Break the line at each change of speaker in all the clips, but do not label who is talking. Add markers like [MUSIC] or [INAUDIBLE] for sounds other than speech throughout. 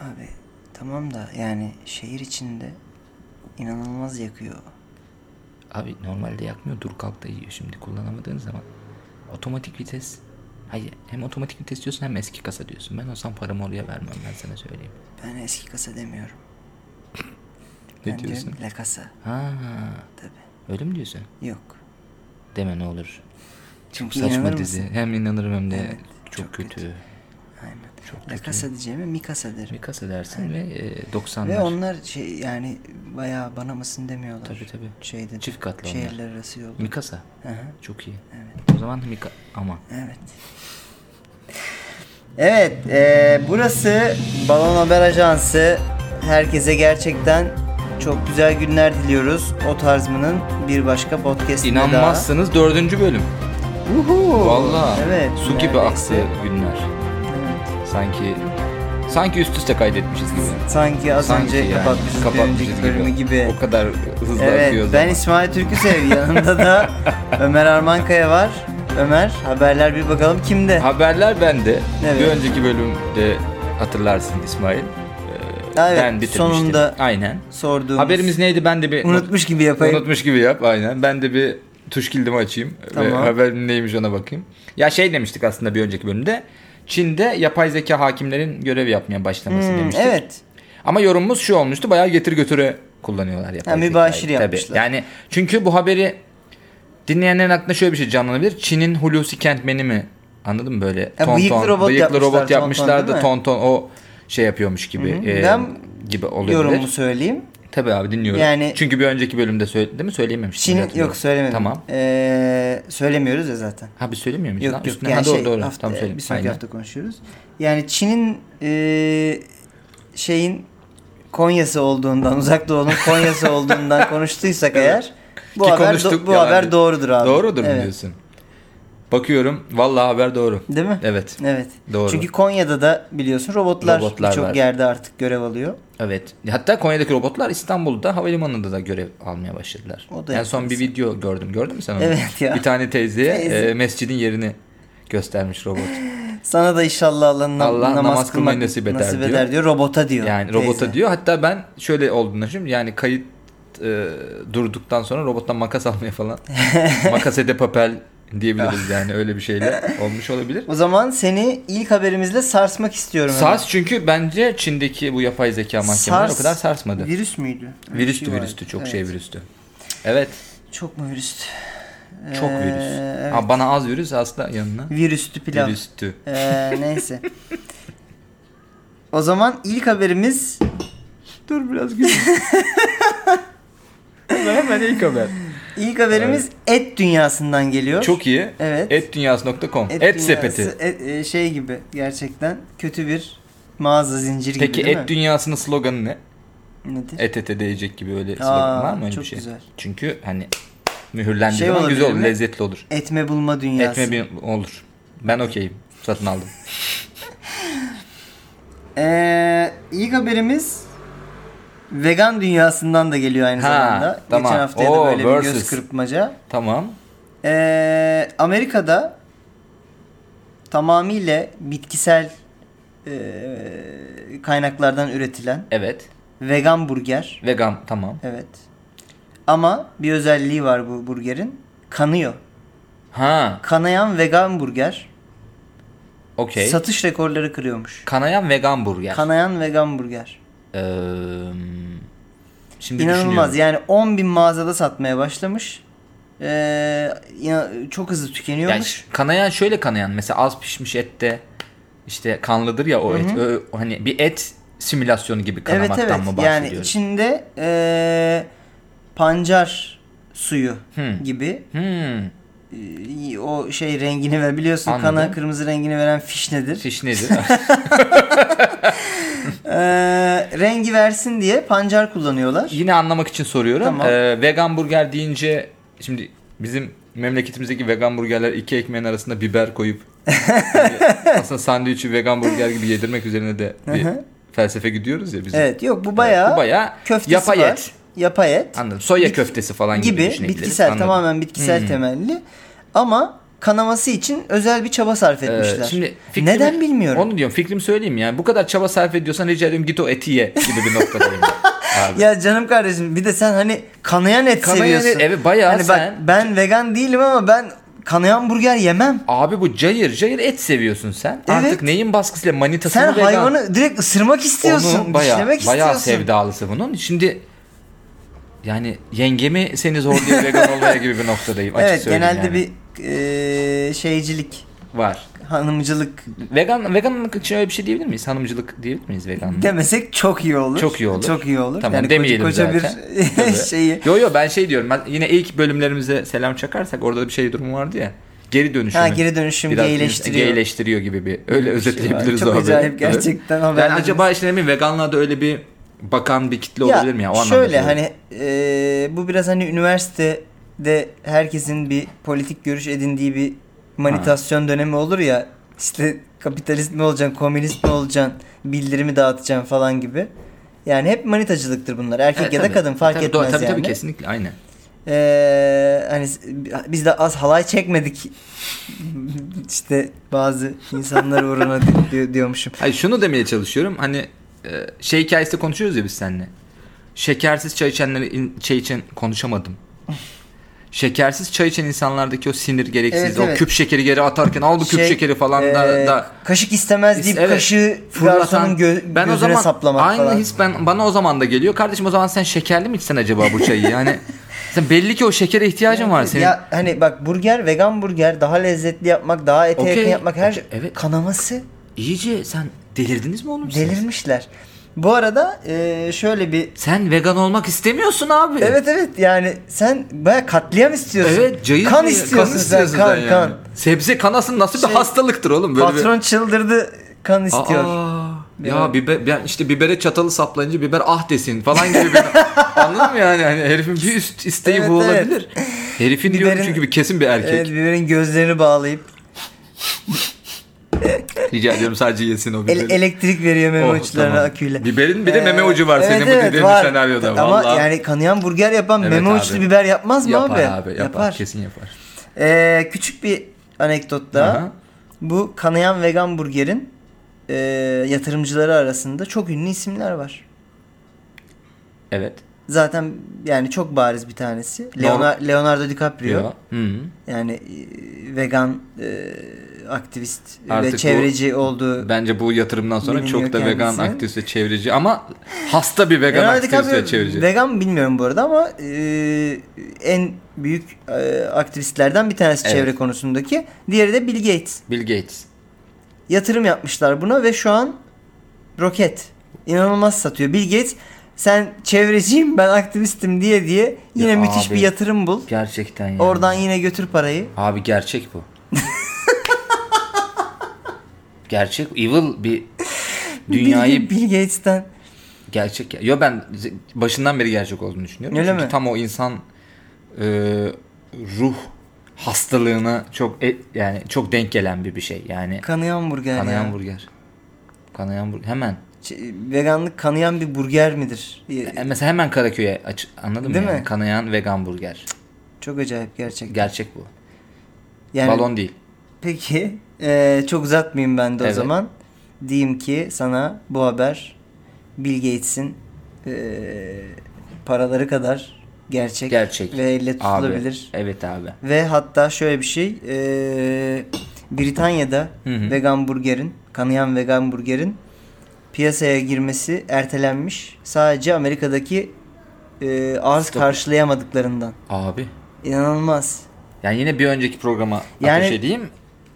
Abi tamam da yani şehir içinde inanılmaz yakıyor.
Abi normalde yakmıyor dur kalk da yiyor şimdi kullanamadığın zaman. Otomatik vites. Hayır hem otomatik vites diyorsun hem eski kasa diyorsun. Ben olsam paramı oraya vermem ben sana söyleyeyim.
Ben eski kasa demiyorum.
Ne
ben
diyorsun?
Diyorum, la kasa
Ha
tabii.
öyle mi diyorsun?
Yok.
Deme ne olur. Çok
Çünkü inanır
saçma
mısın?
dizi. Hem inanırım hem de
Evet,
çok,
çok
kötü.
kötü. Aynen.
Çok
la
kötü.
kasa diyeceğime mi kasa derim.
Bir kasa dersin ve e, 90'lar.
Ve onlar şey yani bayağı bana mısın demiyorlar.
Tabii, tabii.
Şeyde,
Çift katlı onlar.
Şehirler arası yolda.
Mikasa.
Hı hı.
Çok iyi.
Evet.
O zaman Mika ama.
Evet. Evet, eee, burası Balon Haber Ajansı. Herkese gerçekten çok güzel günler diliyoruz. O tarzmının bir başka podcast'inde
İnanmazsınız dördüncü bölüm.
daha. Uhu.
Vallahi
Evet.
su gibi
neredeyse.
aktı günler.
Evet.
Sanki sanki üst üste kaydetmişiz gibi.
Sanki az
Sanki
önce
yani,
kapatmışız, bir önceki bölümü gibi.
O kadar hızlı
Evet,
akıyor
ben
zaman.
İsmail Türküsev. Yanında
[LAUGHS]
da Ömer Armankaya var. Ömer, haberler bir bakalım kimde?
Haberler bende.
Evet.
Bir önceki bölümde hatırlarsın İsmail. Ee,
Evet,
ben bitirmiştim.
sonunda
Aynen.
Sorduğumuz.
Haberimiz neydi ben de bir...
Unutmuş gibi yapayım.
Unutmuş gibi yap aynen. Ben de bir tuşkildimi açayım. Ve
Tamam.
haberim neymiş ona bakayım. Ya şey demiştik aslında bir önceki bölümde. Çin'de yapay zeka hakimlerin görev yapmaya başlaması
Hmm,
demiştik.
evet.
Ama yorumumuz şu olmuştu. Bayağı getir götüre kullanıyorlar yapay
Ha,
zekayı.
mübaşir
Tabii.
yapmışlar.
Yani çünkü bu haberi dinleyenlerin aklına şöyle bir şey canlanabilir. Çin'in Hulusi Kentmen'i mi? Anladın mı böyle?
Ha, bıyıklı robot
bıyıklı robot
yapmışlar, ton ton
yapmışlar
değil
da
mi?
ton ton o şey yapıyormuş gibi.
Hı hı.
e,
Ben
gibi olabilir.
Yorumumu söyleyeyim.
Tabii abi dinliyorum.
Yani-
Çünkü bir önceki bölümde söyledim mi? Söyleyememiştim.
Çin
hatırlıyorum.
yok söylemedim.
Tamam.
Ee, söylemiyoruz ya zaten.
Ha biz söylemiyor muyuz?
Yok
lan?
yok
Üstüne-
yani
ha, doğru
şey,
doğru.
hafta,
tamam söyle.
bir sonraki
Aynen.
hafta konuşuyoruz. Yani Çin'in ee, şeyin Konya'sı olduğundan, [LAUGHS] Uzak Doğu'nun Konya'sı olduğundan konuştuysak eğer bu
Ki
haber
konuştuk,
do- bu
yalan
haber
değil.
doğrudur abi.
Doğrudur mu
evet.
diyorsun. Bakıyorum. Vallahi haber doğru.
Değil mi?
Evet.
Evet.
Doğru.
Çünkü Konya'da da biliyorsun robotlar,
Robotlar var.
birçok yerde artık görev alıyor.
Evet. Hatta Konya'daki robotlar İstanbul'da havalimanında da görev almaya başladılar.
O da
en son bir video gördüm. Gördün mü sen onu?
Evet ya.
Bir tane teyzeye
Teyze.
e, mescidin yerini göstermiş robot.
[LAUGHS] Sana da inşallah Allah, nam-
Allah
namaz,
namaz kılmayı
kılmak
nasip eder
nasip
diyor.
eder diyor. Robota diyor.
Yani robota
teyze.
diyor. Hatta ben şöyle olduğunu düşünüyorum. Yani kayıt e, durduktan sonra robottan makas almaya
[LAUGHS]
falan. makas de papel diyebiliriz yani öyle bir şeyle olmuş olabilir.
O zaman seni ilk haberimizle sarsmak istiyorum. hemen.
SARS çünkü bence Çin'deki bu yapay zeka mahkemeleri o
SARS
kadar sarsmadı.
Virüs müydü? Öyle bir
virüstü
şey vardı.
virüstü çok
Evet.
şey virüstü. Evet
Çok mu virüstü?
çok
Ee,
virüs.
evet.
Ha, bana az virüs asla yanına.
Virüstü pilav.
Virüstü.
Ee, neyse. O zaman ilk haberimiz
Dur biraz gül. [LAUGHS] hemen hemen ilk haber.
ilk haberimiz et dünyasından geliyor.
Çok iyi.
Evet.
Etdünyası.com. Et,
dünyası,
sepeti.
et- e, şey gibi gerçekten kötü bir mağaza zinciri
Peki
gibi değil
et
mi?
dünyasının sloganı ne?
Nedir?
Et ete değecek gibi öyle
Aa,
slogan var mı öyle
çok
bir şey?
güzel.
Çünkü hani mühürlendiği
Şey
zaman güzel
olabilir
olur,
mi?
lezzetli olur.
Etme bulma dünyası.
Etme bir olur. Ben okeyim. Satın aldım.
Ee, ilk haberimiz vegan dünyasından da geliyor aynı
Ha,
zamanda.
tamam.
Geçen haftaya da
Oo,
böyle bir göz
versus.
kırpmaca.
Tamam.
Ee, Amerika'da tamamıyla bitkisel ee, kaynaklardan üretilen
Evet.
vegan burger.
Vegan tamam.
Evet. Ama bir özelliği var bu burgerin. Kanıyor.
Ha.
Kanayan vegan burger
Okey.
satış rekorları kırıyormuş.
Kanayan vegan burger.
Kanayan vegan burger.
Eee, şimdi
İnanılmaz
düşünüyorum.
yani 10 bin mağazada satmaya başlamış. Ee, ya- çok hızlı tükeniyormuş.
Yani ş- kanayan şöyle kanayan mesela az pişmiş ette işte kanlıdır ya o et. Ö- hani bir et simülasyonu gibi
evet
kanamaktan
evet
mı
yani
bahsediyoruz?
içinde ee, pancar suyu
Hmm.
gibi
Hmm.
ee, o şey rengini ve biliyorsun
Anladım.
kana kırmızı rengini veren fiş nedir?
Fiş
[LAUGHS]
nedir? [LAUGHS]
Ee, rengi versin diye pancar kullanıyorlar.
Yine anlamak için soruyorum.
Tamam.
Ee, vegan burger deyince şimdi bizim memleketimizdeki vegan burgerler iki ekmeğin arasında
[LAUGHS]
biber koyup yani aslında sandviçi vegan burger gibi yedirmek üzerine de bir
hı.
felsefe gidiyoruz ya bizim.
Evet yok bu bayağı,
bu bayağı
köftesi
yapay
var.
et.
Yapay et.
Anladım. Soya
Bit-
köftesi falan gibi,
gibi
düşünebiliriz.
bitkisel
Anladım.
tamamen bitkisel temelli ama kanaması için özel bir çaba sarf
Ee,
etmişler.
şimdi fikrimi-
Neden bilmiyorum.
Onu diyorum fikrimi söyleyeyim yani. Bu kadar çaba sarf ediyorsan rica ediyorum git o eti ye gibi bir
[LAUGHS]
noktadayım. Abi.
Ya canım kardeşim bir de sen hani kanayan et
Kanayan
seviyorsun.
et, evet, bayağı
Hani bak,
sen-
ben vegan değilim ama ben kanayan burger yemem.
Abi bu cayır cayır et seviyorsun sen. Artık
Evet.
neyin baskısıyla manitasını
Sen
vegan.
hayvanı direkt ısırmak istiyorsun.
Onu bayağı,
dişlemek
bayağı
istiyorsun.
sevdalısı bunun. Şimdi yani yengemi seni zorluyor vegan olmaya gibi bir noktadayım. Açık
Evet
söyleyeyim
genelde
yani.
bir e, şeycilik,
var.
hanımcılık
Vegan veganlık için öyle bir şey diyebilir miyiz? Hanımcılık diyebilir miyiz veganlık?
demesek çok iyi olur.
Çok iyi olur.
Çok iyi olur.
Tamam
yani
demeyelim
koca, koca
zaten.
bir [LAUGHS]
Tabii.
şeyi.
Yo yo ben şey diyorum. Ben yine ilk bölümlerimize selam çakarsak orada da bir şey durumu vardı ya. Geri dönüşüm.
Ha geri dönüşüm
Biraz
geyleştiriyor.
geyleştiriyor gibi bir öyle özetleyebiliriz
Çok
o haberi.
acayip gerçekten
Evet. Yani
haberlerimiz-
acaba işte ne bileyim veganlığa da öyle bir bakan bir kitle olabilir mi ya? O anlamda
şöyle
söylüyorum.
hani e, bu biraz hani üniversitede herkesin bir politik görüş edindiği bir manitasyon dönemi olur ya. İşte kapitalist mi olacaksın, komünist mi olacaksın, bildirimi dağıtacaksın falan gibi. Yani hep manitacılıktır bunlar. Erkek
Evet,
ya da
tabii.
kadın fark
tabii,
etmez
tabii,
yani.
Tabii kesinlikle aynen.
Ee, hani s- biz de az halay çekmedik. [LAUGHS] işte bazı insanlar uğruna di- di- diyormuşum.
Hayır şunu demeye çalışıyorum. Hani e, şey hikayesi konuşuyoruz ya biz seninle. Şekersiz çay içenleri in- çay için konuşamadım. Şekersiz çay içen insanlardaki o sinir gereksizliği,
Evet,
o
evet.
küp şekeri geri atarken al bu küp
Şey,
şekeri falan
ee,
da, da
kaşık istemez deyip
Evet.
kaşığı
fırlatan
garsonun gö-
ben
gözüne
o zaman
saplamak
aynı
falan.
his ben bana o zaman da geliyor. Kardeşim o zaman sen şekerli mi içsen acaba bu çayı?
[LAUGHS]
Yani sen belli ki o şekere ihtiyacın var senin.
Ya hani bak burger, vegan burger daha lezzetli yapmak, daha ete
Okey,
yakın yapmak her
okey, evet.
kanaması
İyice sen delirdiniz mi oğlum? siz?
delirmişler. Bu arada ee, şöyle bir
Sen vegan olmak istemiyorsun abi.
Evet evet yani sen baya katliam istiyorsun.
Evet cayır
kan
diye-
istiyorsun
kan
sen
istiyorsun
kan
sen yani.
kan.
Sebze kanasın nasıl
Şey,
bir hastalıktır oğlum böyle
Patron çıldırdı kan
bir...
istiyor.
Aa, ya biber ben işte bibere çatalı saplayınca biber ah desin falan gibi bir [LAUGHS] anladın mı yani hani herifin bir üst isteği
Evet,
bu
evet.
olabilir. Herifin diyorum
Biberin-
çünkü bir kesin bir erkek.
Evet biberin gözlerini bağlayıp
[LAUGHS] Rica ediyorum sadece yesin o biberi.
ele- elektrik veriyor meme
Oh,
uçlarına
tamam.
aküyle.
Biberin bir de
Ee,
meme ucu var
evet,
senin bu
evet,
dediğin
var.
senaryoda.
Ama
Vallahi
yani kanayan burger yapan
Evet
meme
abi.
uçlu biber yapmaz mı
yapar
abi?
abi yapar, kesin yapar.
Ee, küçük bir anekdot daha.
Aha.
Bu kanayan vegan burgerin e, yatırımcıları arasında çok ünlü isimler var.
Evet.
Zaten yani çok bariz bir tanesi. Leonar- Leonardo DiCaprio.
Yo. Hı.
Yani e, vegan e, aktivist
Artık
ve
bu-
çevreci olduğu
Bence bu yatırımdan sonra
Biliniyor
çok da vegan
kendisi.
aktivist ve çevirici ama hasta bir vegan
Leonardo
aktivist ve
DiCaprio
çevirici.
vegan bilmiyorum bu arada ama e, en büyük e, aktivistlerden bir tanesi
Evet.
çevre konusundaki. Diğeri de Bill Gates.
Bill Gates.
Yatırım yapmışlar buna ve şu an roket. İnanılmaz satıyor. Bill Gates sen çevreciyim ben aktivistim diye diye yine
Ya
müthiş
abi.
bir yatırım bul.
Gerçekten ya.
Oradan yine götür parayı.
Abi gerçek bu. gerçek evil
[LAUGHS]
bir dünyayı
Bill, Bill Gates'ten.
gerçek. Yo ben ze- başından beri gerçek olduğunu düşünüyorum.
Öyle
Çünkü
mi?
tam o insan e, ruh hastalığına çok e- yani çok denk gelen bir bir şey. Yani
Kanayan burger
kanayan
ya.
burger. Kanayan burger. Hemen.
Ç- veganlık kanayan bir burger midir? E,
E, Mesela hemen Karaköy'e aç, anladın
Değil
mı? yani?
mi?
Kanayan vegan burger.
Çok acayip gerçekten.
Gerçek bu.
Yani
Balon değil.
Peki. eee, çok uzatmayayım ben de
Evet.
o zaman. Diyeyim ki sana bu haber Bill Gates'in eee, paraları kadar gerçek,
Gerçek.
ve elle
Abi.
tutulabilir.
Evet abi.
Ve hatta şöyle bir şey. eee, Britanya'da
hı.
vegan burgerin, kanayan vegan burgerin piyasaya girmesi ertelenmiş. Sadece Amerika'daki eee arz
Stop.
karşılayamadıklarından.
Abi.
İnanılmaz.
Yani yine bir önceki programa
Yani-
ateş edeyim.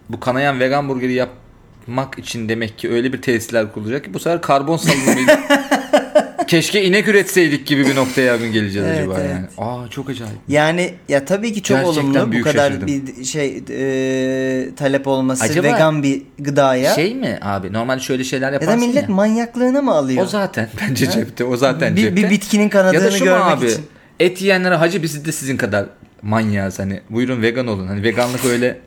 Bu kanayan vegan burgeri yapmak için demek ki öyle bir tesisler kurulacak ki bu sefer karbon salınımıyla
[LAUGHS]
keşke inek üretseydik gibi bir noktaya mı geleceğiz
Evet,
acaba
evet.
yani. Aa çok acayip.
Yani ya tabii ki çok
Gerçekten
olumlu bu
büyük
kadar
şaşırdım.
bir şey e, talep olması
Acaba-
vegan bir gıdaya.
Şey mi abi normal şöyle şeyler
ya da
yaparsın ya.
millet manyaklığına mı alıyor?
O zaten [LAUGHS] bence cepte. O zaten
bir,
cepte.
bir bitkinin kanadını
ya da şu mu
görmek
abi?
için.
Et yiyenlere hacı biz de sizin kadar manyağız hani. Buyurun vegan olun. Hani veganlık öyle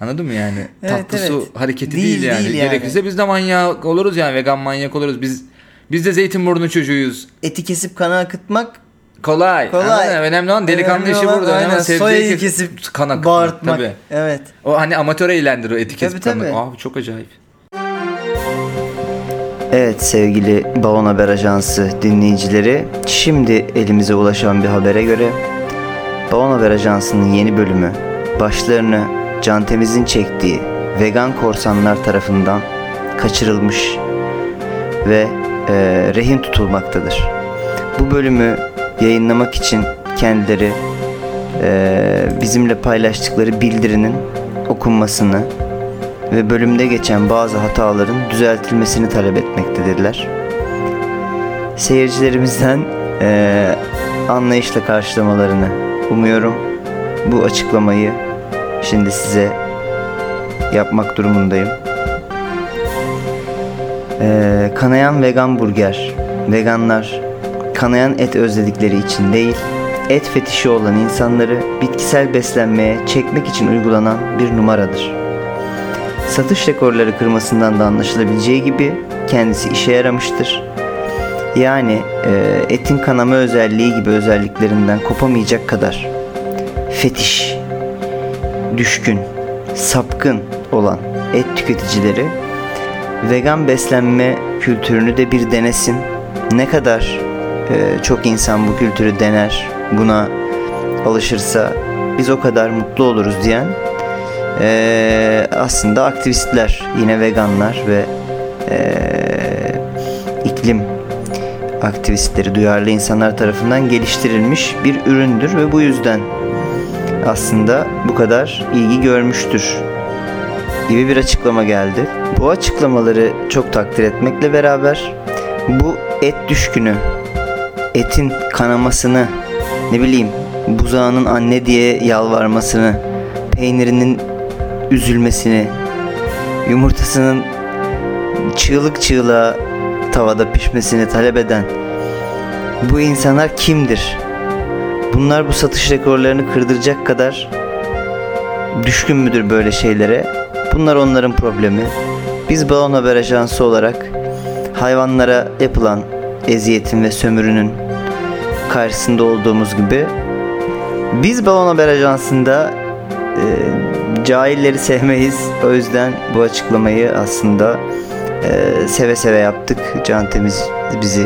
Anladın mı yani?
Evet,
Tatlı su
evet.
hareketi
Değil,
değil, yani.
değil yani.
Gerekirse biz de manyak oluruz yani vegan manyak oluruz. Biz biz de Zeytinburnu çocuğuyuz.
Eti kesip kana akıtmak
Kolay.
Kolay.
Anladın mı? önemli olan delikanlı
Önemli
işi
olan
burada. Önemli
aynen,
olan sebzeyi
soyayı
kesip,
kesip
kana katmak.
bağırtmak.
Tabii.
Evet.
O hani amatör eğlendir o eti kesip
Tabii,
kanı.
tabii.
Abi çok acayip.
Evet sevgili Balon Haber Ajansı dinleyicileri, şimdi elimize ulaşan bir habere göre Balon Haber Ajansı'nın yeni bölümü başlarını Can Temiz'in çektiği vegan korsanlar tarafından kaçırılmış ve e, rehin tutulmaktadır. Bu bölümü yayınlamak için kendileri e, bizimle paylaştıkları bildirinin okunmasını ve bölümde geçen bazı hataların düzeltilmesini talep etmektedirler. Seyircilerimizden eee, anlayışla karşılamalarını umuyorum. Bu açıklamayı şimdi size yapmak durumundayım. Eee, E, kanayan vegan burger, veganlar kanayan et özledikleri için değil, et fetişi olan insanları bitkisel beslenmeye çekmek için uygulanan bir numaradır. Satış rekorları kırmasından da anlaşılabileceği gibi kendisi işe yaramıştır. Yani e, etin kanama özelliği gibi özelliklerinden kopamayacak kadar fetiş, düşkün, sapkın olan et tüketicileri vegan beslenme kültürünü de bir denesin. Ne kadar e, çok insan bu kültürü dener, buna alışırsa biz o kadar mutlu oluruz diyen ee, aslında aktivistler yine veganlar ve ee, iklim aktivistleri duyarlı insanlar tarafından geliştirilmiş bir üründür ve bu yüzden aslında bu kadar ilgi görmüştür gibi bir açıklama geldi. Bu açıklamaları çok takdir etmekle beraber bu et düşkünü, etin kanamasını, ne bileyim buzağının anne diye yalvarmasını, peynirinin üzülmesini, yumurtasının çığlık çığlığa tavada pişmesini talep eden bu insanlar kimdir? Bunlar bu satış rekorlarını kırdıracak kadar düşkün müdür böyle şeylere? Bunlar onların problemi. Biz Balon Haber Ajansı olarak hayvanlara yapılan eziyetin ve sömürünün karşısında olduğumuz gibi biz Balon Haber Ajansı'nda e, cahilleri sevmeyiz. O yüzden bu açıklamayı aslında e, seve seve yaptık. Can Temiz bizi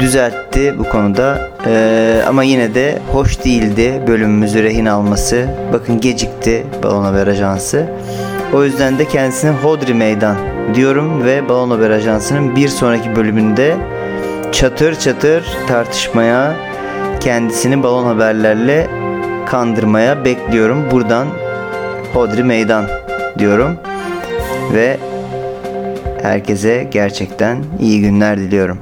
düzeltti bu konuda. E, ama yine de hoş değildi bölümümüzü rehin alması. Bakın gecikti Balon Haber Ajansı. O yüzden de kendisine Hodri Meydan diyorum ve Balon Haber Ajansı'nın bir sonraki bölümünde çatır çatır tartışmaya kendisini balon haberlerle kandırmaya bekliyorum. Buradan Hodri Meydan diyorum ve herkese gerçekten iyi günler diliyorum.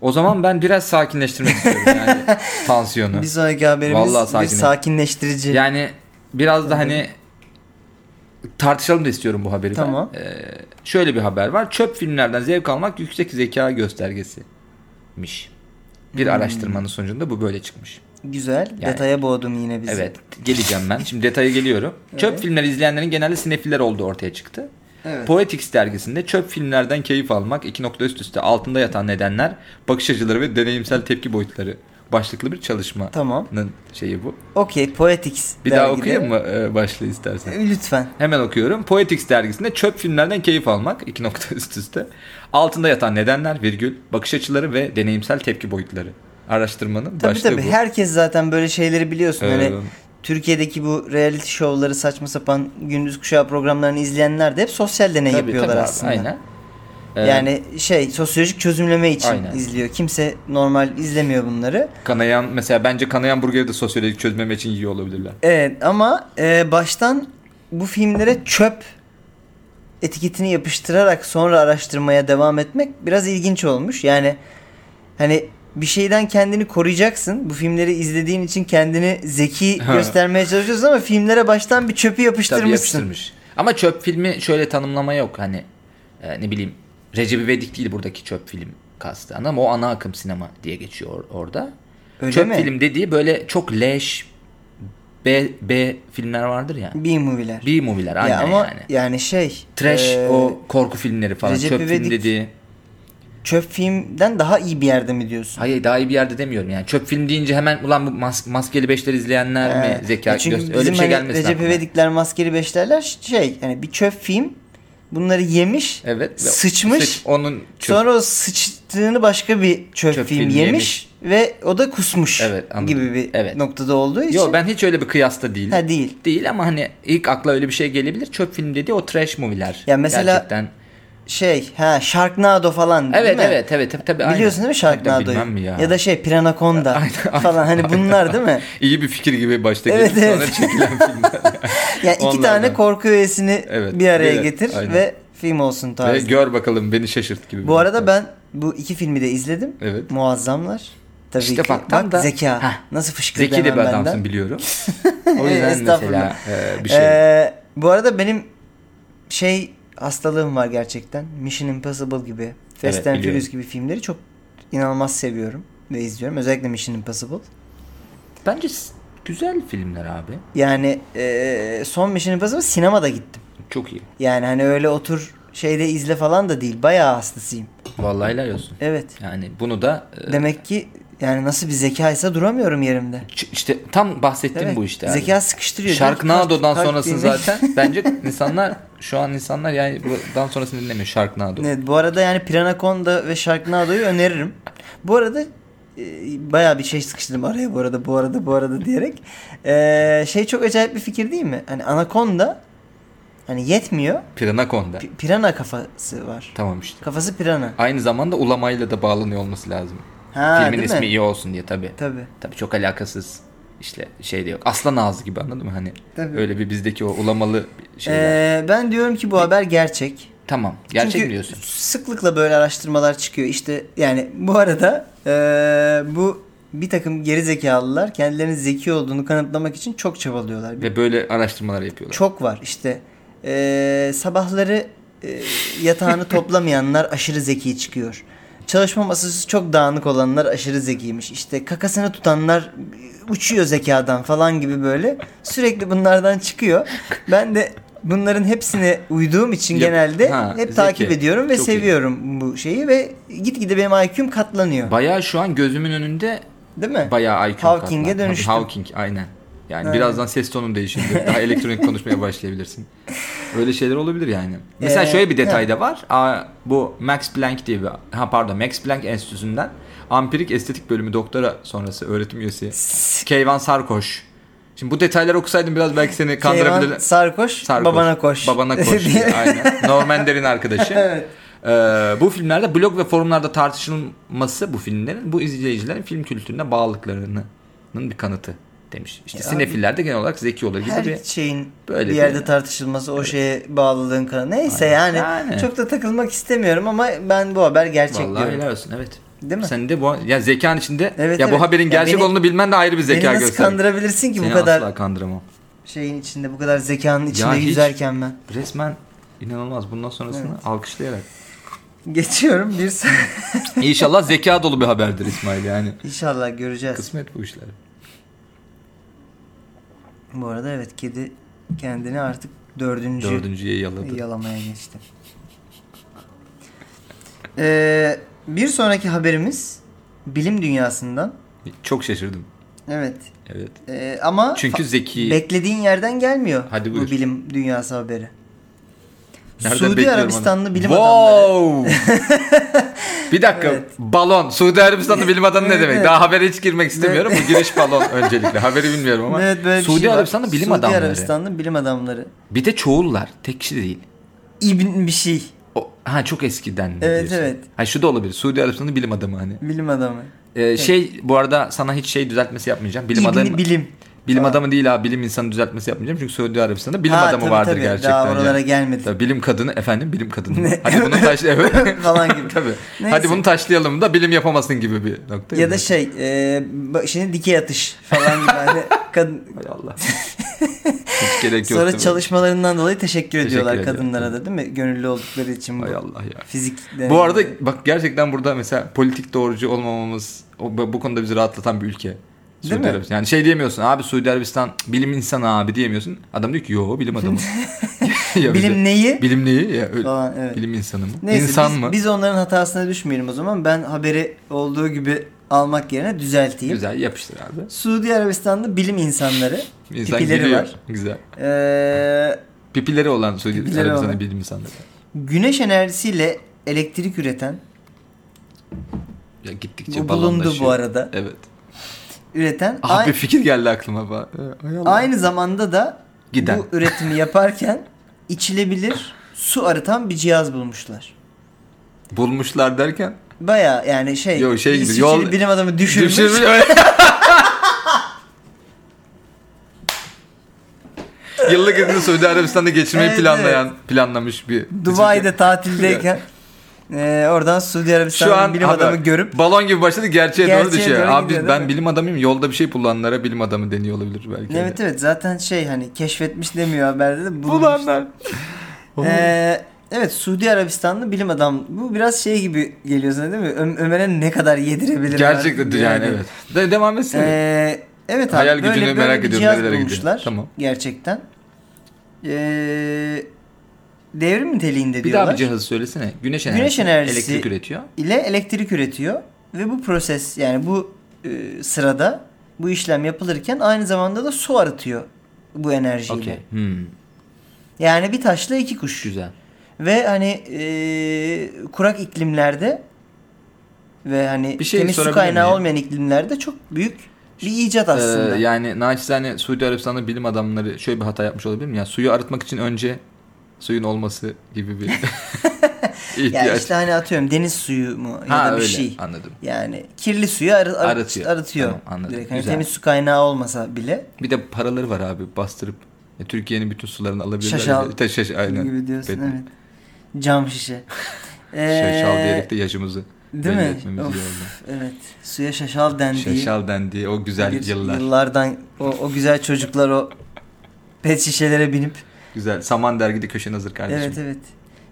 O zaman ben biraz sakinleştirmek istiyorum
[LAUGHS]
yani tansiyonu.
Bir sonraki haberimiz
Vallahi
bir
sakinim.
sakinleştirici.
Yani biraz da hani tartışalım da istiyorum bu haberi ben.
Tamam.
Ee, şöyle bir haber var. Çöp filmlerden zevk almak yüksek zeka göstergesimiş. Bir
Hmm.
araştırmanın sonucunda bu böyle çıkmış.
Güzel.
Yani-
Detaya boğdum yine bizi.
Evet, geleceğim ben. Şimdi detaya geliyorum. Çöp
Evet.
filmleri izleyenlerin genelde sinefiller olduğu ortaya çıktı.
Evet.
Poetics dergisinde çöp filmlerden keyif almak iki nokta üst üste altında yatan nedenler, bakış açıları ve deneyimsel tepki boyutları başlıklı bir çalışmanın
Tamam.
şeyi bu.
Okey. Poetics.
Bir daha
dergide-
okuyayım mı e, başlığı istersen?
Lütfen.
Hemen okuyorum. Poetics dergisinde çöp filmlerden keyif almak iki nokta üst üste. Altında yatan nedenler virgül bakış açıları ve deneyimsel tepki boyutları. Araştırmanın
Tabii
başlığı
tabii.
bu. Ee,
Herkes zaten böyle şeyleri biliyorsun.
Evet.
Hani Türkiye'deki bu reality show'ları saçma sapan gündüz kuşağı programlarını izleyenler de hep sosyal deney
Tabii,
yapıyorlar
tabii abi,
aslında.
Aynen. Ee,
Yani şey sosyolojik çözümleme için
Aynen.
izliyor. Kimse normal izlemiyor bunları.
Kanayan mesela bence kanayan burgeri de sosyolojik çözmeme için yiyor olabilirler.
Evet ama e, baştan bu filmlere çöp etiketini yapıştırarak sonra araştırmaya devam etmek biraz ilginç olmuş. Yani hani bir şeyden kendini koruyacaksın. Bu filmleri izlediğin için kendini
[LAUGHS]
zeki
Ha.
göstermeye çalışıyorsun ama filmlere baştan bir çöpü
Tabii
yapıştırmışsın.
yapıştırmış. Ama çöp filmi şöyle tanımlama yok hani e, ne bileyim Recep İvedik değil buradaki çöp film kastı ama o ana akım sinema diye geçiyor or- orada.
Öyle
çöp
mi?
film dediği böyle çok leş B, B filmler vardır ya.
B-movie'ler.
B movie'ler aynen
ya ama
yani.
yani. şey
Trash
e,
o korku filmleri falan
Recep
çöp film
İvedik-
dediği.
çöp filmden daha iyi bir yerde mi diyorsun?
Hayır daha iyi bir yerde demiyorum yani. Çöp film deyince hemen ulan bu mas- maskeli beşler izleyenler
Ee,
mi zeka
e çünkü
göster-
bizim
Öyle bir şey
hani
gelmesin.
Recep
aklıma.
İvedikler maskeli beşlerler ş- şey hani bir çöp film bunları yemiş
Evet. ve
sıçmış
sıç- onun çöp-
sonra o sıçtığını başka bir çöp,
Çöp
film
filmi
yemiş,
yemiş.
ve o da kusmuş
Evet, anladım.
gibi bir
Evet.
noktada olduğu için
Yo ben hiç öyle bir kıyasta değilim.
ha değil.
Değil ama hani ilk akla öyle bir şey gelebilir. Çöp film dediği o trash movie'ler.
Ya mesela-
Gerçekten.
Şey ha Sharknado falan değil
Evet
mi?
evet evet tabii tabii. aynen.
Biliyorsun değil mi
Tabii,
Sharknado'yu?
bilmem mi ya.
ya da şey
[LAUGHS]
Piranaconda falan hani bunlar değil mi?
İyi bir fikir gibi başta
Evet,
gelip sonra
evet. [LAUGHS]
çekilen filmler.
Ya iki
Onlardan.
tane korku öğesini
Evet,
bir araya
evet,
getir
aynen.
ve film olsun
Ve
tarzı.
gör bakalım beni şaşırt gibi.
Bu arada ben bu iki filmi de izledim.
Evet.
Muazzamlar. Tabii
İşte
ki.
bak
Bak,
tam da-
zeka.
Heh.
Nasıl fışkırdı
Zeki de bir
hemen
adamsın
benden. [LAUGHS]
biliyorum. O yüzden mesela
Estağfurullah.
e, bir şey.
Ee, bu arada benim şey hastalığım var gerçekten. Mission Impossible gibi, Fast
Evet,
and
biliyorum.
Furious gibi filmleri çok inanılmaz seviyorum ve izliyorum. Özellikle Mission Impossible.
Bence s- güzel filmler abi.
Yani e, son Mission Impossible sinemada gittim.
Çok iyi.
Yani hani öyle otur şeyde izle falan da değil. Bayağı hastasıyım.
Vallahi helal olsun.
Evet.
Yani bunu da e,
Demek ki yani nasıl bir zekaysa duramıyorum yerimde.
ç- işte tam bahsettiğim
Evet.
bu işte. abi.
Zeka sıkıştırıyor.
Sharknado'dan
Kalp- kalp
sonrasını
yemek-
zaten bence insanlar şu an insanlar yani buradan sonrasını dinlemiyor Sharknado.
[LAUGHS] Evet, bu arada yani Piranaconda ve Sharknado'yu öneririm. Bu arada e, bayağı bir şey sıkıştırdım araya bu arada bu arada bu arada diyerek. E, şey çok acayip bir fikir değil mi? Hani Anaconda hani yetmiyor.
Piranaconda.
Pi- Pirana kafası var.
Tamam işte.
Kafası pirana.
Aynı zamanda ulamayla da bağlanıyor olması lazım.
Ha,
Filmin
değil
ismi
mi?
iyi olsun diye tabi.
Tabii.
Tabi çok alakasız işte şey de yok. Aslan ağzı gibi anladın mı hani?
Tabii.
Öyle bir bizdeki o ulamalı şeyler.
E, ben diyorum ki bu haber gerçek.
tamam. Gerçek
Çünkü
mi diyorsun?
Sıklıkla böyle araştırmalar çıkıyor. İşte yani bu arada eee, bu bir takım geri zekalılar kendilerinin zeki olduğunu kanıtlamak için çok çabalıyorlar.
Ve böyle araştırmalar yapıyorlar.
Çok var işte eee, sabahları eee,
[LAUGHS]
yatağını toplamayanlar aşırı zeki çıkıyor. Çalışma masası çok dağınık olanlar aşırı zekiymiş. İşte kakasını tutanlar e, uçuyor zekadan falan gibi böyle sürekli bunlardan çıkıyor. Ben de bunların hepsine uyduğum için
Yap-
genelde
Ha,
hep
zeki.
takip ediyorum ve
Çok iyi.
seviyorum bu şeyi ve gitgide benim IQ'm katlanıyor.
Bayağı şu an gözümün önünde
Değil mi?
bayağı IQ
Hawking'e
katlan-
dönüştüm.
Hawking aynen. Yani
Aynen.
birazdan ses tonun değişir.
[LAUGHS]
Daha elektronik konuşmaya başlayabilirsin. Öyle şeyler olabilir yani. Mesela
Ee,
şöyle bir detay
yani.
da var. Aa, bu Max Planck diye bir ha pardon Max Planck Enstitüsü'nden ampirik estetik bölümü doktora sonrası öğretim üyesi Keyvan Sarkoş. Şimdi bu detayları okusaydım biraz belki seni kandırabilirdim.
Keyvan Sarkoş,
Sarkoş.
babana koş.
Babana
[LAUGHS]
koş.
diye.
Aynen. Norman Der'in arkadaşı.
[LAUGHS] Evet.
Ee, bu filmlerde blog ve forumlarda tartışılması bu filmlerin bu izleyicilerin film kültürüne bağlılıklarının bir kanıtı demiş. İşte
Ya
sinefiller de genel olarak zeki olur gibi
Her şey
bir
şeyin
böyle
bir
bir-
yerde tartışılması o şeye bağlılığın kanı. Neyse yani,
Yani.
çok da takılmak istemiyorum ama ben bu haber gerçek
Vallahi
diyorum.
helal olsun evet.
Değil mi?
Sen de bu ya zekan içinde
Evet,
ya bu
evet.
haberin
Ya
gerçek
beni-
olduğunu bilmen de ayrı bir
Beni
zeka
nasıl
gösteriyor.
kandırabilirsin ki
Seni
bu kadar
asla kandıramam.
şeyin içinde bu kadar zekanın içinde
hiç.
yüzerken ben. [LAUGHS]
Resmen inanılmaz. Bundan sonrasını alkışlayarak.
Geçiyorum bir
[LAUGHS]
son-
İnşallah zeka dolu bir haberdir İsmail yani.
İnşallah göreceğiz.
Kısmet bu işler.
Bu arada evet kedi kendini artık dördüncü,
Dördüncüye yaladı.
yalamaya geçti. Ee, bir sonraki haberimiz bilim dünyasından.
Çok şaşırdım.
Evet.
Evet.
Ee, ama
Çünkü zeki.
Beklediğin yerden gelmiyor
Hadi
bu
buyur.
bilim dünyası haberi.
Nereden
Suudi
bekliyorum
Arabistanlı
onu?
bilim adamları
wow! bir dakika.
Evet.
Balon. Suudi Arabistanlı bilim adamı ne
Evet,
demek?
evet.
Daha habere hiç girmek istemiyorum. Bu
[LAUGHS]
giriş balon öncelikle. Haberi bilmiyorum ama.
Evet, böyle bir
Suudi
şey var.
Arabistanlı bilim
Suudi
adamları.
Arabistanlı bilim adamları.
Bir de çoğullar. Tek kişi değil.
İbn bir şey.
O, ha çok eskiden mi
Evet,
diyorsun?
evet.
Ha şu da olabilir. Suudi Arabistanlı bilim adamı hani.
Bilim adamı.
Ee, şey bu arada sana hiç şey düzeltmesi yapmayacağım. Bilim
İbni
adamı
bilim.
bilim
Aa.
adamı değil abi bilim insanı düzeltmesi yapmayacağım. Çünkü Suudi Arabistan'da bilim
Ha,
adamı
tabii,
vardır
tabii.
gerçekten.
Daha oralara
yani.
gelmedi.
Tabii, bilim kadını efendim bilim kadını. Hadi bunu
[LAUGHS]
taş evet.
Falan gibi.
Tabii. [LAUGHS]
Neyse.
Hadi bunu taşlayalım da bilim yapamasın gibi bir nokta.
Ya da şey, e, bak şimdi dikey atış falan gibi. hani kadın,
Hay Allah.
[LAUGHS]
Hiç gerek yok.
sonra
değil mi?
çalışmalarından dolayı teşekkür, ediyorlar
ediyorum.
kadınlara da değil mi? Gönüllü oldukları için bu.
Hay Allah ya.
Fizik
Bu
deneyimleri.
arada bak gerçekten burada mesela politik doğrucu olmamamız o- bu konuda bizi rahatlatan bir ülke. Suudi
Değil mi?
Arabistan. Yani şey diyemiyorsun abi Suudi Arabistan bilim insanı abi diyemiyorsun. Adam diyor ki yo bilim adamı. [LAUGHS] ya bize.
Bilim neyi?
Bilim neyi ya? Öyle.
Falan, evet.
Bilim insanı mı?
Neyse,
İnsan
biz,
mı?
biz onların hatasına düşmeyelim o zaman. Ben haberi olduğu gibi almak yerine düzelteyim.
Güzel yapıştır abi.
Suudi Arabistan'da bilim insanları
[LAUGHS] İnsan
Pipileri
giriyor.
var. Ee,
Güzel.
eee,
Pipileri olan Suudi
Pipileri olan.
Arabistan'da bilim insanları.
güneş enerjisiyle elektrik üreten
Ya gittikçe
bu bulundu bu
balonlaşıyor.
arada.
Evet.
Üreten
şey. Ah
ay-
bir fikir geldi aklıma. bak. Ee, ay Allah.
aynı zamanda da
Giden.
bu üretimi yaparken içilebilir su arıtan bir cihaz bulmuşlar.
Bulmuşlar derken.
Baya yani şey,
Yo, şey gibi,
İsviçreli
yol-
bilim adamı düşürmüş. [LAUGHS]
Düşürmüş öyle. Yıllık izni Suudi Arabistan'da geçirmeyi
Evet,
planlayan planlamış bir.
Dubai'de tatildeyken eee, oradan Suudi
şu
Arabistan'ın
an
bilim
haber-
adamı görüp
balon gibi başladı gerçeğe,
Gerçeğe
doğru düşüyor.
doğru
Abi
gidiyor,
ben
değil mi?
bilim adamıyım. Yolda bir şey bulanlara bilim adamı deniyor olabilir belki.
Evet evet zaten şey hani keşfetmiş demiyor haberde de bulmuş.
Bulanlar.
Ee, evet Suudi Arabistanlı bilim adam. Bu biraz şey gibi geliyor sana değil mi? Ö- Ömer'e ne kadar yedirebilirim?
Gerçekten
artık
yani, evet. De, devam etsin.
Ee, evet abi
Hayal
böyle,
gücünü
böyle
merak
bir
ediyorum,
cihaz
nerelere gidiyor?
bulmuşlar.
Tamam.
Gerçekten. Ee, devrim niteliğinde
bir
diyorlar.
daha bir cihazı söylesene. Güneş enerjisi,
Güneş enerjisi-
elektrik üretiyor.
ile elektrik üretiyor ve bu proses yani bu e, sırada bu işlem yapılırken aynı zamanda da su arıtıyor bu enerjiyle.
Okey. Hmm,
Yani bir taşla iki kuş.
güzel.
Ve hani eee, kurak iklimlerde ve hani
Bir şey
temiz su
sorabilir
kaynağı
miyim?
olmayan iklimlerde çok büyük bir icat aslında.
Ee, yani naçizane Suudi Arabistan'da bilim adamları şöyle bir hata yapmış olabilir mi? Yani suyu arıtmak için önce suyun olması
[LAUGHS]
gibi bir [LAUGHS]
ya
ihtiyaç.
işte hani atıyorum deniz suyu mu ya
ha
da bir
öyle
şey.
anladım.
Yani kirli suyu arı, arı-
Arıtıyor.
arıtıyor.
Tamam, anladım.
direkt. Hani
Güzel.
temiz su kaynağı olmasa bile
Bir de paraları var abi bastırıp ya Türkiye'nin bütün sularını alabilirler.
Şaşal
Ta- şaş- aynen.
gibi diyorsun
Bed-
evet. Cam
[LAUGHS]
şişe.
Şaşal
Ee,
Şey, diyerek de yaşımızı
Değil
belli
mi?
etmemiz iyi oldu.
Of, evet. Suya şaşal dendiği.
Şaşal dendiği o güzel
bir
yıllar.
Yıllardan o, o güzel çocuklar o pet şişelere binip
Güzel. Saman dergide köşen hazır kardeşim.
Evet evet.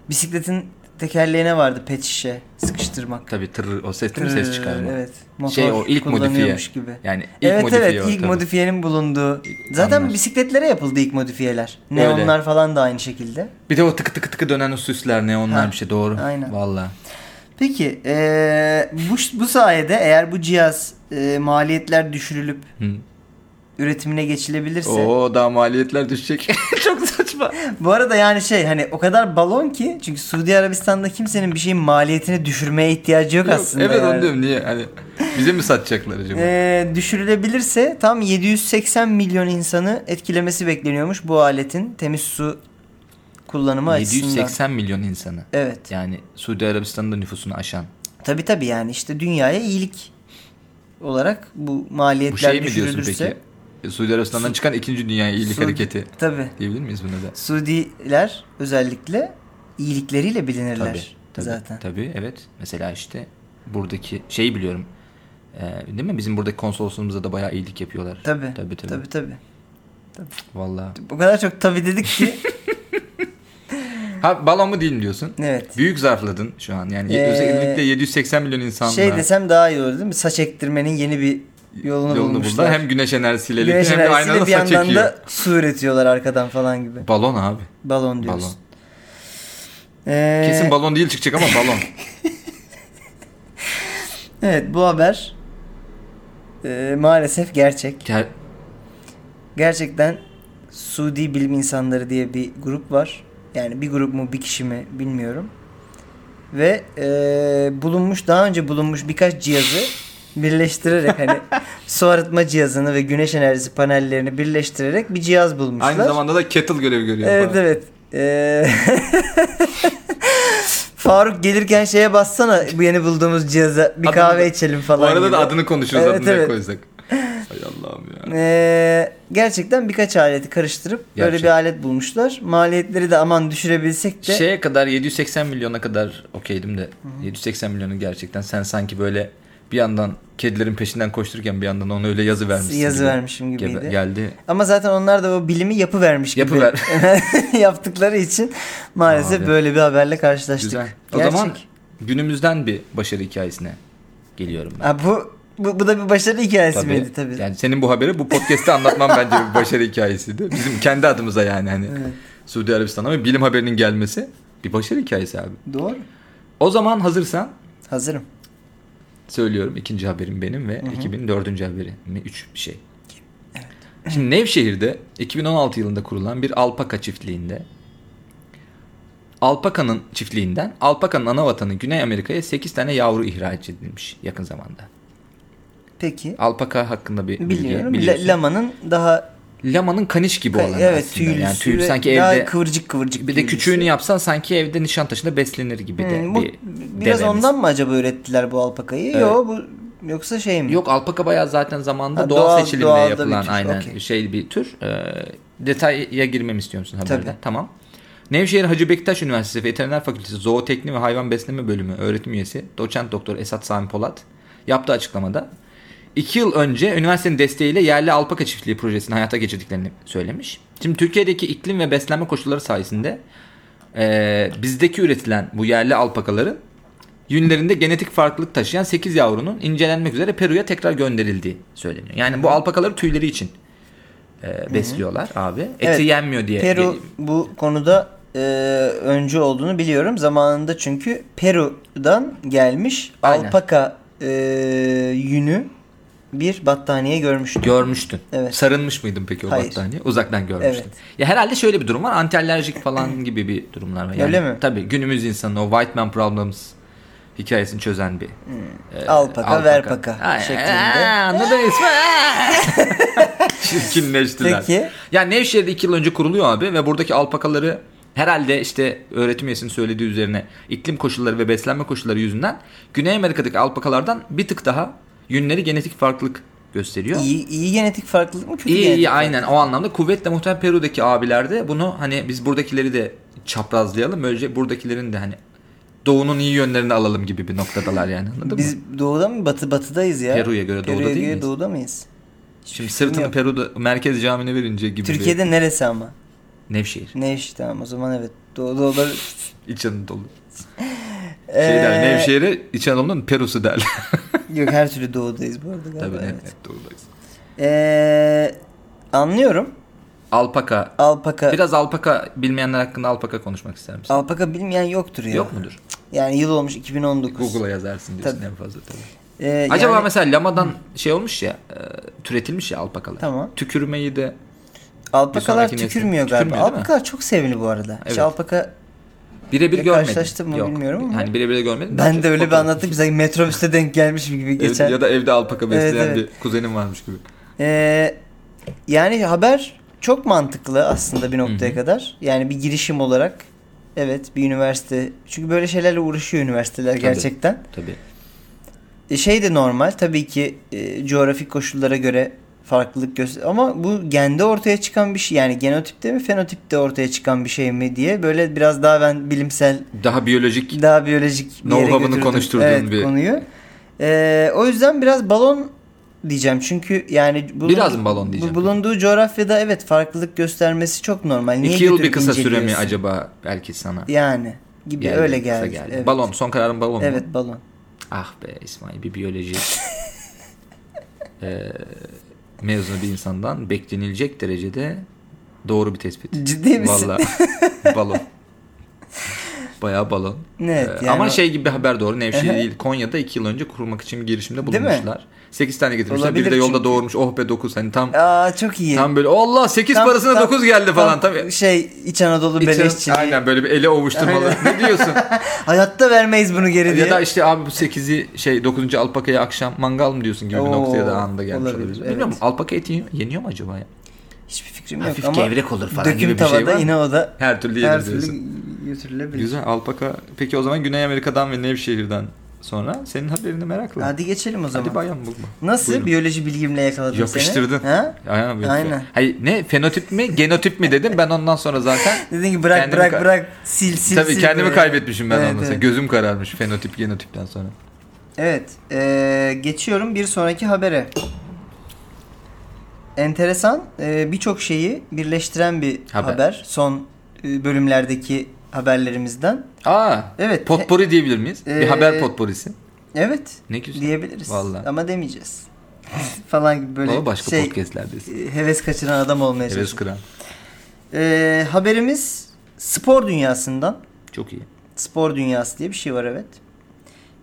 Bisikletin tekerleğine vardı pet şişe sıkıştırmak.
Tabii tır o ses değil mi? ses çıkarma.
Evet. Motor
Şey o ilk modifiye.
kullanıyormuş gibi.
Yani ilk
evet
modifiye
evet
o
ilk
tabii.
modifiyenin bulunduğu. Zaten
Anlar.
bisikletlere yapıldı ilk modifiyeler.
Öyle.
Neonlar falan da aynı şekilde.
Bir de o tıkı tıkı tıkı dönen o süsler ne onlar
Ha,
bir şey doğru.
aynen.
Valla.
Peki eee, bu, bu sayede eğer bu cihaz eee, maliyetler düşürülüp üretimine geçilebilirse.
Oo daha
[LAUGHS]
maliyetler düşecek. Çok saçma.
Bu arada yani şey hani o kadar balon ki çünkü Suudi Arabistan'da kimsenin bir şeyin maliyetini düşürmeye ihtiyacı yok,
Yok,
aslında.
evet
yani.
onu diyorum niye? Hani bize mi satacaklar acaba?
Ee, düşürülebilirse tam 780 milyon insanı etkilemesi bekleniyormuş bu aletin temiz su kullanımı açısından.
780 milyon insanı.
Evet.
Yani Suudi Arabistan'da nüfusunu aşan.
Tabi tabi yani işte dünyaya iyilik olarak bu maliyetler
Bu şey mi diyorsun
düşürülürse.
peki? E, Suudi Arabistan'dan çıkan ikinci dünya iyilik
Suudi-
hareketi
Tabi.
diyebilir miyiz buna da?
Suudiler özellikle iyilikleriyle bilinirler
Tabii, tabii,
zaten.
Tabii evet. Mesela işte buradaki şeyi biliyorum. Ee, değil mi? Bizim buradaki konsolosluğumuzda da bayağı iyilik yapıyorlar.
Tabi.
Tabii tabii.
Tabi tabi.
Vallahi.
O kadar çok tabi dedik
[LAUGHS]
ki.
Ha balon mu değil mi diyorsun?
evet.
Büyük zarfladın şu an. Yani
Ee,
özellikle 780 milyon insanla
Şey desem daha iyi olur değil mi? Saç ektirmenin yeni bir yolunu,
yolunu buldular.
bulmuşlar.
Hem güneş enerjisiyle
Güneş
birlikte hem de aynada
enerjisiyle bir
saç
yandan
çekiyor.
da su üretiyorlar arkadan falan gibi.
Balon abi.
Balon diyorsun.
Balon.
Ee,
Kesin balon değil çıkacak ama
[LAUGHS]
balon.
Evet bu haber e, maalesef gerçek.
Ger-
Gerçekten Suudi bilim insanları diye bir grup var. Yani bir grup mu bir kişi mi bilmiyorum. Ve e, bulunmuş daha önce bulunmuş birkaç cihazı birleştirerek
[LAUGHS]
hani su arıtma cihazını ve güneş enerjisi panellerini birleştirerek bir cihaz bulmuşlar.
Aynı zamanda da kettle görevi görüyor.
Evet
falan.
evet. Ee, [LAUGHS] Faruk gelirken şeye bassana bu yeni bulduğumuz cihaza bir
Adını-
kahve içelim falan.
Bu arada da
gibi.
adını konuşuruz.
Evet,
adını ne
evet.
koysak.
[LAUGHS]
Ay Allah'ım ya.
Ee, gerçekten birkaç aleti karıştırıp böyle
Gerçek.
bir alet bulmuşlar. Maliyetleri de aman düşürebilsek de
Şeye kadar 780 milyona kadar okeydim de 780 milyonu gerçekten sen sanki böyle bir yandan kedilerin peşinden koştururken bir yandan onu öyle yazı vermişsin.
yazı
gibi.
vermişim
Gebe-
gibiydi.
geldi.
Ama zaten onlar da o bilimi yapıvermiş gibi
Yapıver.
[LAUGHS] yaptıkları için maalesef
Abi.
böyle bir haberle karşılaştık.
Güzel. O
Gerçek.
zaman günümüzden bir başarı hikayesine geliyorum ben.
Ha, bu, bu, bu da bir başarı hikayesi
Tabii.
miydi tabii.
Yani senin bu haberi bu podcast'te anlatmam bence bir başarı hikayesiydi. Bizim kendi adımıza yani hani.
Evet.
Suudi Arabistan'a ve bilim haberinin gelmesi bir başarı hikayesi abi.
Doğru.
O zaman hazırsan
Hazırım.
söylüyorum ikinci haberim benim ve 2004. haberi. Ne üç bir şey. Şimdi Nevşehir'de 2016 yılında kurulan bir alpaka çiftliğinde alpakanın çiftliğinden alpakanın ana vatanı Güney Amerika'ya 8 tane yavru ihraç edilmiş yakın zamanda.
Peki.
Alpaka hakkında bir bilgi
Biliyorum.
biliyorsun.
La- lamanın daha
Lamanın kaniş gibi olan
evet
aslında.
tüylüsü
yani tüylü
ve
sanki
daha
evde
kıvırcık kıvırcık.
bir de
tüylüsü.
küçüğünü yapsan sanki evde Nişantaşı'nda beslenir gibi de
Hmm, bu-
bir
biraz
devemiz.
ondan mı acaba ürettiler bu alpakayı?
Evet.
Yok bu yoksa şey mi?
Yok alpaka bayağı zaten zamanda
Ha,
doğal,
doğal-
seçilimle
doğal da bir
yapılan
tür,
aynen
okey.
şey bir tür. Ee, detaya girmemi istiyor musun haberde?
Tabii.
Tamam. Nevşehir Hacı Bektaş Üniversitesi Veteriner Fakültesi Zootekni ve Hayvan Besleme Bölümü öğretim üyesi doçent doktor Esat Sami Polat yaptığı açıklamada 2 yıl önce üniversitenin desteğiyle yerli alpaka çiftliği projesini hayata geçirdiklerini söylemiş. Şimdi Türkiye'deki iklim ve beslenme koşulları sayesinde ee, bizdeki üretilen bu yerli alpakaların yünlerinde genetik farklılık taşıyan 8 yavrunun incelenmek üzere Peru'ya tekrar gönderildiği söyleniyor. Yani bu alpakaları tüyleri için e, besliyorlar abi. Eti
Evet.
yenmiyor diye.
Peru bu konuda e, öncü olduğunu biliyorum. Zamanında çünkü Peru'dan gelmiş
Aynen.
alpaka e, yünü bir battaniye görmüştüm.
görmüştün.
Evet.
Sarılmış mıydın peki o
Hayır.
battaniye? Uzaktan görmüştün.
Evet.
Ya herhalde şöyle bir durum var. Antialerjik falan [CLEARS THROAT] gibi bir durumlar var. Yani,
Öyle mi?
Tabii günümüz insanı o white man problems hikayesini çözen bir e,
Alpaka, verpaka
Ay,
şeklinde.
aa,
[LAUGHS]
Anladın ismi. Çirkinleştiler.
Peki.
Yani Nevşehir'de 2 yıl önce kuruluyor abi ve buradaki alpakaları herhalde işte öğretim üyesinin söylediği üzerine iklim koşulları ve beslenme koşulları yüzünden Güney Amerika'daki alpakalardan bir tık daha yünleri genetik farklılık gösteriyor.
İyi, iyi genetik farklılık mı kötü
İyi
genetik
iyi aynen o anlamda kuvvetle muhtemelen Peru'daki abiler de bunu hani biz buradakileri de çaprazlayalım böylece buradakilerin de hani doğunun iyi yönlerini alalım gibi bir noktadalar yani anladın mı?
Biz doğuda mı batı batıdayız ya?
Peru'ya göre doğuda
Peru'ya
değil
göre
miyiz?
doğuda mıyız?
Şimdi sırtını
Yok.
Peru'da merkez camine verince gibi
Türkiye'de neresi ama?
bir Nevşehir.
Nevşehir tamam o zaman evet doğuda olabilir.
İç Anadolu. Şey der,
Ee,
Nevşehir'e İç Anadolu'nun Peru'su derler.
Yok her türlü doğudayız bu arada galiba.
Tabii
evet.
evet. doğrudayız.
Ee, anlıyorum.
Alpaka.
Alpaka.
Biraz alpaka bilmeyenler hakkında alpaka konuşmak ister misin?
Alpaka bilmeyen yoktur ya.
Yok mudur?
Yani yıl olmuş 2019.
Google'a yazarsın diyorsun
Tabii.
en fazla tabii.
Ee,
Acaba
yani-
mesela lamadan şey olmuş ya, e, türetilmiş ya alpakalar.
Tamam.
Tükürmeyi de
Alpakalar
bir sonraki
tükürmüyor
nesil.
galiba.
Tükürmüyor değil mi?
Alpakalar çok sevimli bu arada. Hiç
Evet.
alpaka
birebir
Ya
görmedim.
karşılaştım mı bilmiyorum ama.
Hani birebir de görmedim.
ben de öyle bir
Fotoğraf-
anlattım ki sanki metrobüste denk gelmişim gibi
Evet,
geçen.
Ya da evde alpaka besleyen
Evet, evet.
bir kuzenim varmış gibi.
Ee, yani haber çok mantıklı aslında bir noktaya kadar. Yani bir girişim olarak. Evet bir üniversite. Çünkü böyle şeylerle uğraşıyor üniversiteler
Tabii.
gerçekten.
Tabii.
E, Şey de normal tabii ki e, coğrafik koşullara göre farklılık göster ama bu gende ortaya çıkan bir şey yani genotipte mi fenotipte ortaya çıkan bir şey mi diye böyle biraz daha ben bilimsel
Daha biyolojik
daha biyolojik bir yere
Know-how'ını
götürdüm.
konuşturduğun
Evet,
bir-
konuyu. E, o yüzden biraz balon diyeceğim çünkü yani bulunduğu,
Biraz mı balon diyeceğim?
bu- bulunduğu coğrafyada evet farklılık göstermesi çok normal. Niye
iki yıl bir
götürüp
kısa süre mi
inceliyorsun?
acaba belki sana?
Yani gibi
Geldi,
öyle
kısa
geldi. Evet.
Balon son kararın balon mu?
Evet balon.
Ah be İsmail bir biyoloji [LAUGHS] eee, mezunu bir insandan beklenilecek derecede doğru bir tespit.
Ciddi misin?
Valla [LAUGHS] balon. Bayağı balon.
Evet,
Ee,
yani
ama
o-
şey gibi bir haber doğru. Nevşehir
Ehe.
değil Konya'da 2 yıl önce kurulmak için bir girişimde
Değil mi?
bulunmuşlar. 8 tane getirmişler.
Olabilir
biri de yolda
çünkü.
doğurmuş. Oh be 9. Hani tam
Aa çok iyi.
tam böyle Allah 8
Tam-
parasına
tam-
9 geldi falan.
tam
Tabii.
Şey İç Anadolu
İçeri-
beleşçiliği.
Aynen böyle bir ele ovuşturmalı.
[LAUGHS]
ne diyorsun?
Hayatta vermeyiz bunu geri diye.
Ya da işte abi bu 8'i şey 9. alpakaya akşam mangal mı diyorsun gibi bir
Oo,
noktaya da anında gelmiş
olabilir,
olabilir. Bilmiyorum
evet.
alpaka eti yeniyor- yeniyor mu acaba ya?
Hiçbir fikrim yok
Hafif
ama.
gevrek olur falan
döküm
gibi bir şey
tavada
var mı?
yine o da
Her türlü yenir
her
diyorsun.
türlü götürülebilir.
Güzel alpaka. Peki o zaman Güney Amerika'dan ve Nevşehir'den sonra senin haberini merakla. Hadi,
Hadi geçelim o zaman.
bayan bulma.
Nasıl
Buyurun.
biyoloji bilgimle yakaladım
Yapıştırdın.
seni? Ha?
Aynen. böyle.
Aynen.
Hayır ne fenotip mi genotip mi dedim ben ondan
[LAUGHS]
sonra zaten
Dedin ki bırak
Kendimi
bırak
ka-
bırak sil sil
tabii
sil
kendimi
böyle.
kaybetmişim ben
Evet,
ondan sonra.
evet.
Gözüm kararmış fenotip genotipten sonra.
Evet. eee, geçiyorum bir sonraki habere. Enteresan eee, birçok şeyi birleştiren bir
Haber.
haber. Son eee, bölümlerdeki haberlerimizden.
Aa.
Evet.
Potpori diyebilir miyiz? bir
Ee,
haber potporisi.
Evet.
Ne güzel.
diyebiliriz.
Vallahi.
Ama demeyeceğiz. [LAUGHS] falan gibi böyle
Valla başka
şey
podcastlerdeyiz.
e, heves kaçıran adam olmaya
Heves
çalışıyor.
kıran.
Ee, haberimiz spor dünyasından.
Çok iyi.
Spor dünyası diye bir şey var evet.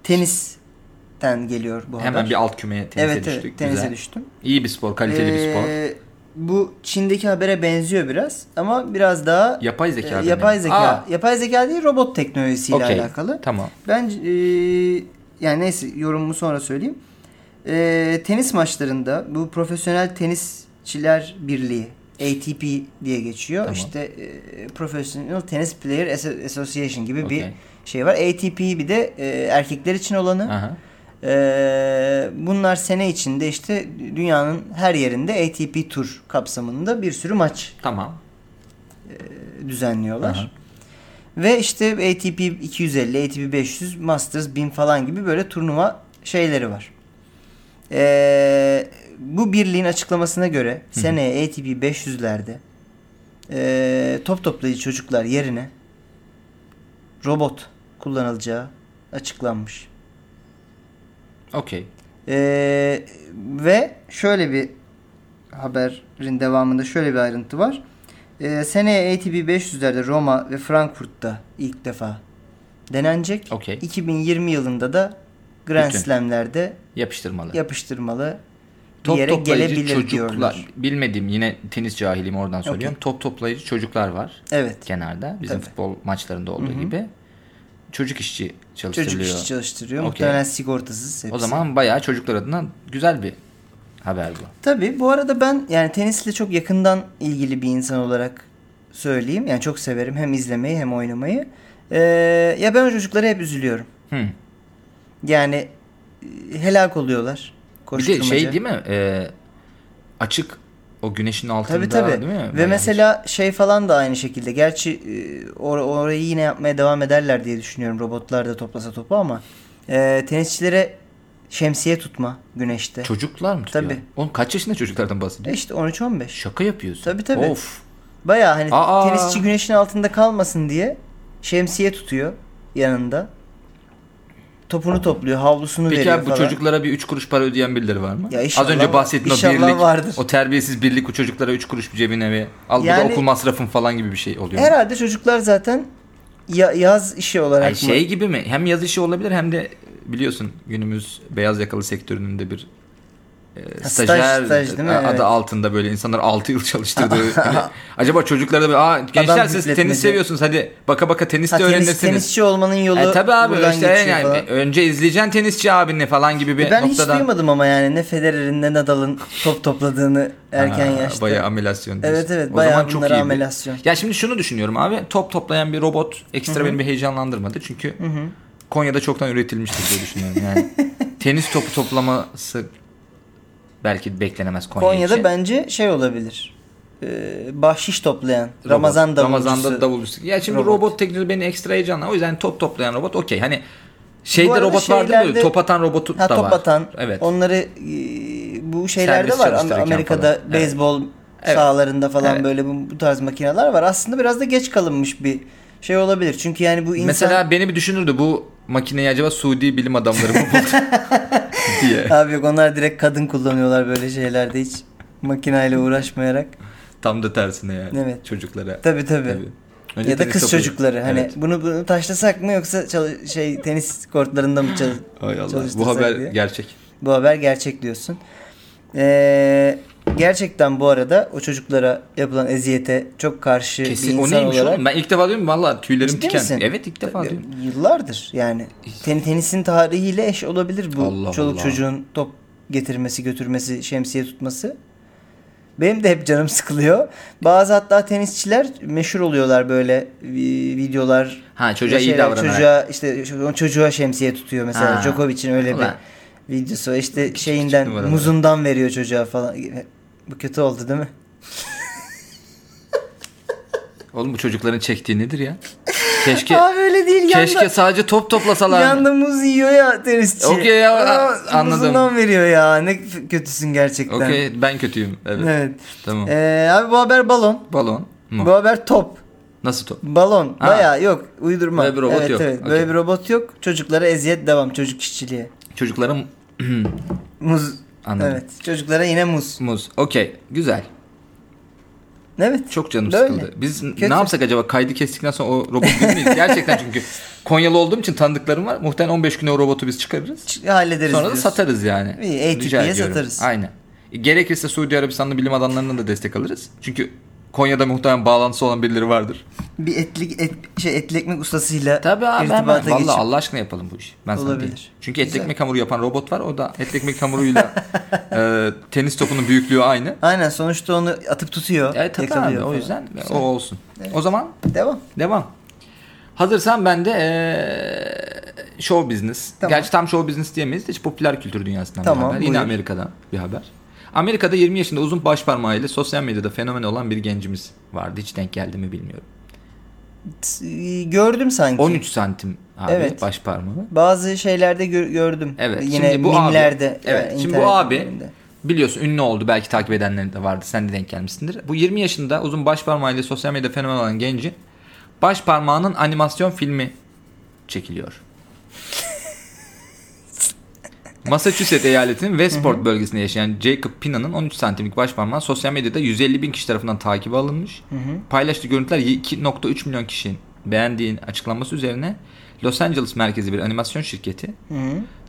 Tenisten geliyor bu haber.
Hemen bir alt kümeye tenise
evet
düştük.
evet tenise
Güzel.
düştüm.
İyi bir spor, kaliteli bir spor.
Ee, Bu Çin'deki habere benziyor biraz ama biraz daha
Yapay zeka.
e,
haberi mi?
yapay zeka.
Aa,
Yapay zeka değil robot teknolojisiyle
okey.
alakalı.
Tamam.
Ben e, yani neyse yorumumu sonra söyleyeyim. E, tenis maçlarında bu profesyonel tenisçiler birliği ATP diye geçiyor.
Tamam.
İşte e, Professional Tennis Player Asso- Association gibi bir
Okey.
şey var. ATP bir de e, erkekler için olanı.
Aha.
E, bunlar sene içinde işte dünyanın her yerinde ATP Tur kapsamında bir sürü maç
Tamam.
düzenliyorlar.
Aha.
Ve işte ATP 250, ATP 500, Masters 1000 falan gibi böyle turnuva şeyleri var. Ee, bu birliğin açıklamasına göre seneye ATP 500'lerde ee, top toplayıcı çocuklar yerine robot kullanılacağı açıklanmış.
Okey.
Ee, ve şöyle bir haberin devamında şöyle bir ayrıntı var. Ee, seneye ATP 500'lerde Roma ve Frankfurt'ta ilk defa denenecek.
Okey.
2020 yılında da Grand
Bütün.
Slam'lerde
Yapıştırmalı.
yapıştırmalı bir
top
yere
toplayıcı
gelebilir
çocuklar.
diyorlar.
Bilmediğim yine tenis cahilim oradan söylüyorum. Top toplayıcı çocuklar var
Evet.
kenarda. Bizim
Tabii.
futbol maçlarında olduğu gibi. Çocuk işçi çalıştırılıyor.
Çocuk işçi çalıştırıyor.
Okey.
Muhtemelen sigortasız hepsi.
O zaman bayağı çocuklar adına güzel bir haber bu.
Tabii bu arada ben yani tenisle çok yakından ilgili bir insan olarak söyleyeyim. Yani çok severim hem izlemeyi hem oynamayı. Ee, ya ben o çocuklara hep üzülüyorum.
Hı.
Yani e, helak oluyorlar.
Bir de
Koşturmaca.
şey değil mi? Ee, açık o güneşin altında
Tabii tabii.
değil mi?
Ve
Bayağı
mesela şey falan da aynı şekilde. Gerçi e, or- orayı yine yapmaya devam ederler diye düşünüyorum. Robotlar da toplasa topu ama e, tenisçilere şemsiye tutma güneşte. E,
Çocuklar mı tutuyor?
Tabii.
Oğlum kaç yaşında çocuklardan bahsediyor?
İşte 13-15.
Şaka yapıyorsun.
Tabii, tabii.
Of.
Baya hani
Aa!
tenisçi güneşin altında kalmasın diye şemsiye tutuyor yanında. Topunu topluyor, havlusunu
Peki
veriyor
abi bu
falan.
çocuklara bir 3 kuruş para ödeyen birileri var mı?
Ya inşallah
Az önce
var-
bahsettiğin o
inşallah
birlik,
vardır.
o terbiyesiz birlik o çocuklara 3 kuruş bir cebine ve al bu
Yani-
da okul masrafın falan gibi bir şey oluyor. Herhalde.
Herhalde çocuklar zaten ya- yaz işi olarak mı?
şey gibi mi? Hem yaz işi olabilir hem de biliyorsun günümüz beyaz yakalı sektörünün de bir e,
staj,
stajyer
staj değil mi?
adı
Evet.
altında böyle insanlar 6
[LAUGHS]
yıl çalıştırdığı. hani Acaba çocuklara da böyle Aa, gençler siz
hüpletmedi."
tenis seviyorsunuz hadi baka baka tenis
Ha,
de
tenis,
öğrenirsiniz.
tenisçi olmanın yolu
E tabii abi
buradan
işte
geçiyor
yani
falan. E,
önce izleyeceksin tenisçi abini falan gibi bir
Ben hiç
noktadan.
duymadım ama yani ne Federer'in ne Nadal'ın top topladığını erken
Ha,
yaşta.
Bayağı amelasyon. diyorsun.
Evet, evet,
O
bayağı
zaman çok
bunlara
iyi bir-
amelasyon.
Ya şimdi şunu düşünüyorum abi. Top toplayan bir robot ekstra beni bir heyecanlandırmadı. Çünkü Konya'da çoktan üretilmiştir diye düşünüyorum. Yani
[LAUGHS]
tenis topu toplaması belki beklenemez Konya
Konya'da
için.
bence şey olabilir. Ee, bahşiş toplayan Ramazan davulcusu.
Ramazan'da davulcusu. Ya şimdi robot,
robot.
teknolojisi beni ekstra heyecanla. O yüzden top toplayan robot okey. Hani şeyde
arada
robot vardı ya,
şeylerde-
top atan robotu
Ha
da
top
var.
atan.
Evet.
Onları e, bu şeylerde
Servis
var. Am-
çalıştırırken
Amerika'da
falan. Evet.
beyzbol
Evet.
sahalarında falan
Evet.
böyle bu, bu tarz makineler var. Aslında biraz da geç kalınmış bir şey olabilir. Çünkü yani bu insan
Mesela beni bir düşünürdü bu makineyi acaba Suudi bilim
[LAUGHS]
adamları mı buldu diye.
[LAUGHS] abi yok onlar direkt kadın kullanıyorlar böyle şeylerde hiç makineyle uğraşmayarak.
Tam da tersine yani.
Evet.
Çocuklara.
Tabii tabii.
Önce
ya da
tenis
kız
topu-
çocukları hani
Evet.
bunu bunu taşlasak mı yoksa çalı- şey tenis kortlarında mı çalış
Ay Allah.
çalıştırsak
Bu haber
diye.
gerçek.
Bu haber gerçek diyorsun. Ee, gerçekten bu arada o çocuklara yapılan eziyete çok karşı
Kesin
bir
o
insan
neymiş
olarak.
oğlum? Ben ilk defa diyorum valla tüylerim
Ciddi
diken.
misin?
Evet ilk defa diyorum.
Yıllardır yani. Ten, tenisin tarihiyle eş olabilir bu
Allah
çoluk
Allah.
çocuğun top getirmesi, götürmesi, şemsiye tutması. Benim de hep canım sıkılıyor. Bazı hatta tenisçiler meşhur oluyorlar böyle e, videolar.
Ha, çocuğa iyi
şeyler,
davranarak.
şey, Çocuğa işte şu- çocuğa şemsiye tutuyor mesela.
Ha.
Djokovic'in öyle
Ulan.
bir videosu. İşte şeyinden
numaralar.
muzundan veriyor çocuğa falan. Bu kötü oldu değil mi?
Oğlum bu çocukların çektiği
[LAUGHS]
nedir ya? Keşke
Abi öyle değil
keşke sadece top toplasalar.
Yanda muz yiyor ya tenisçi.
Okey ya,
Aa,
anladım.
Muzundan veriyor ya. Ne f- kötüsün gerçekten.
Okey ben kötüyüm. Evet.
Evet.
Tamam.
Ee, abi bu haber balon.
Balon mu?
Bu haber top.
Nasıl top?
Balon.
Ha.
Baya yok. Uydurma.
Böyle bir robot
evet,
yok.
Evet.
Okey.
Böyle bir robot yok. Çocuklara eziyet devam. Çocuk işçiliği.
Çocukların
Muz.
Anladım.
Evet. Çocuklara yine muz.
muz. Okey. Güzel.
Evet.
Çok canım
Böyle.
sıkıldı. Biz
Kötü.
ne yapsak acaba? Kaydı kestikten sonra o robot
[LAUGHS]
gibi miyiz? Gerçekten çünkü Konyalı olduğum için tanıdıklarım var. Muhtemelen 15 güne o robotu biz çıkarırız.
Ç- Hallederiz
Sonra da
diyorsun.
satarız yani.
İyi, ATP'ye
Rica ediyorum.
satarız.
Aynen. E, Gerekirse Suudi Arabistan'da bilim adamlarından da destek alırız. Çünkü Konya'da muhtemelen bağlantısı olan birileri vardır.
Bir etli, et, şey, etli ekmek ustasıyla
Tabii abi hemen.
irtibata
Vallahi
geçip.
Allah aşkına yapalım bu işi. Ben sana
Olabilir.
diyeyim. Çünkü etli
Güzel.
ekmek hamuru yapan robot var. O da etli
[LAUGHS]
ekmek hamuruyla e, tenis topunun büyüklüğü aynı.
Aynen sonuçta onu atıp tutuyor.
E, tabii abi,
yakalıyor
o
falan.
yüzden o
Güzel.
olsun. O zaman
Devam.
Devam. Hazırsan ben de eee show business.
Tamam.
Gerçi tam show business diyemeyiz de işte popüler kültür dünyasından
Tamam,
bir haber. Yine
buyur.
Amerika'dan bir haber. Amerika'da 20 yaşında uzun baş parmağıyla sosyal medyada fenomen olan bir gencimiz vardı. Hiç denk geldi mi bilmiyorum.
T- e, Gördüm sanki.
13 santim abi
Evet.
baş parmağı.
Bazı şeylerde gö- gördüm.
Evet.
Yine
şimdi bu
mimlerde.
Abi, evet.
e,
Şimdi bu
internet
abi
mimlerinde.
biliyorsun ünlü oldu. Belki takip edenlerin de vardı. Sen de denk gelmişsindir. Bu 20 yaşında uzun baş parmağıyla sosyal medya fenomen olan genci baş parmağının animasyon filmi
[LAUGHS]
çekiliyor. Massachusetts eyaletinin Westport bölgesinde yaşayan Jacob Pina'nın 13 santimlik baş parmağı sosyal medyada 150 bin kişi tarafından takibe alınmış. Paylaştığı görüntüler 2.3 milyon kişinin beğendiğin açıklanması üzerine Los Angeles merkezi bir animasyon şirketi
Hı.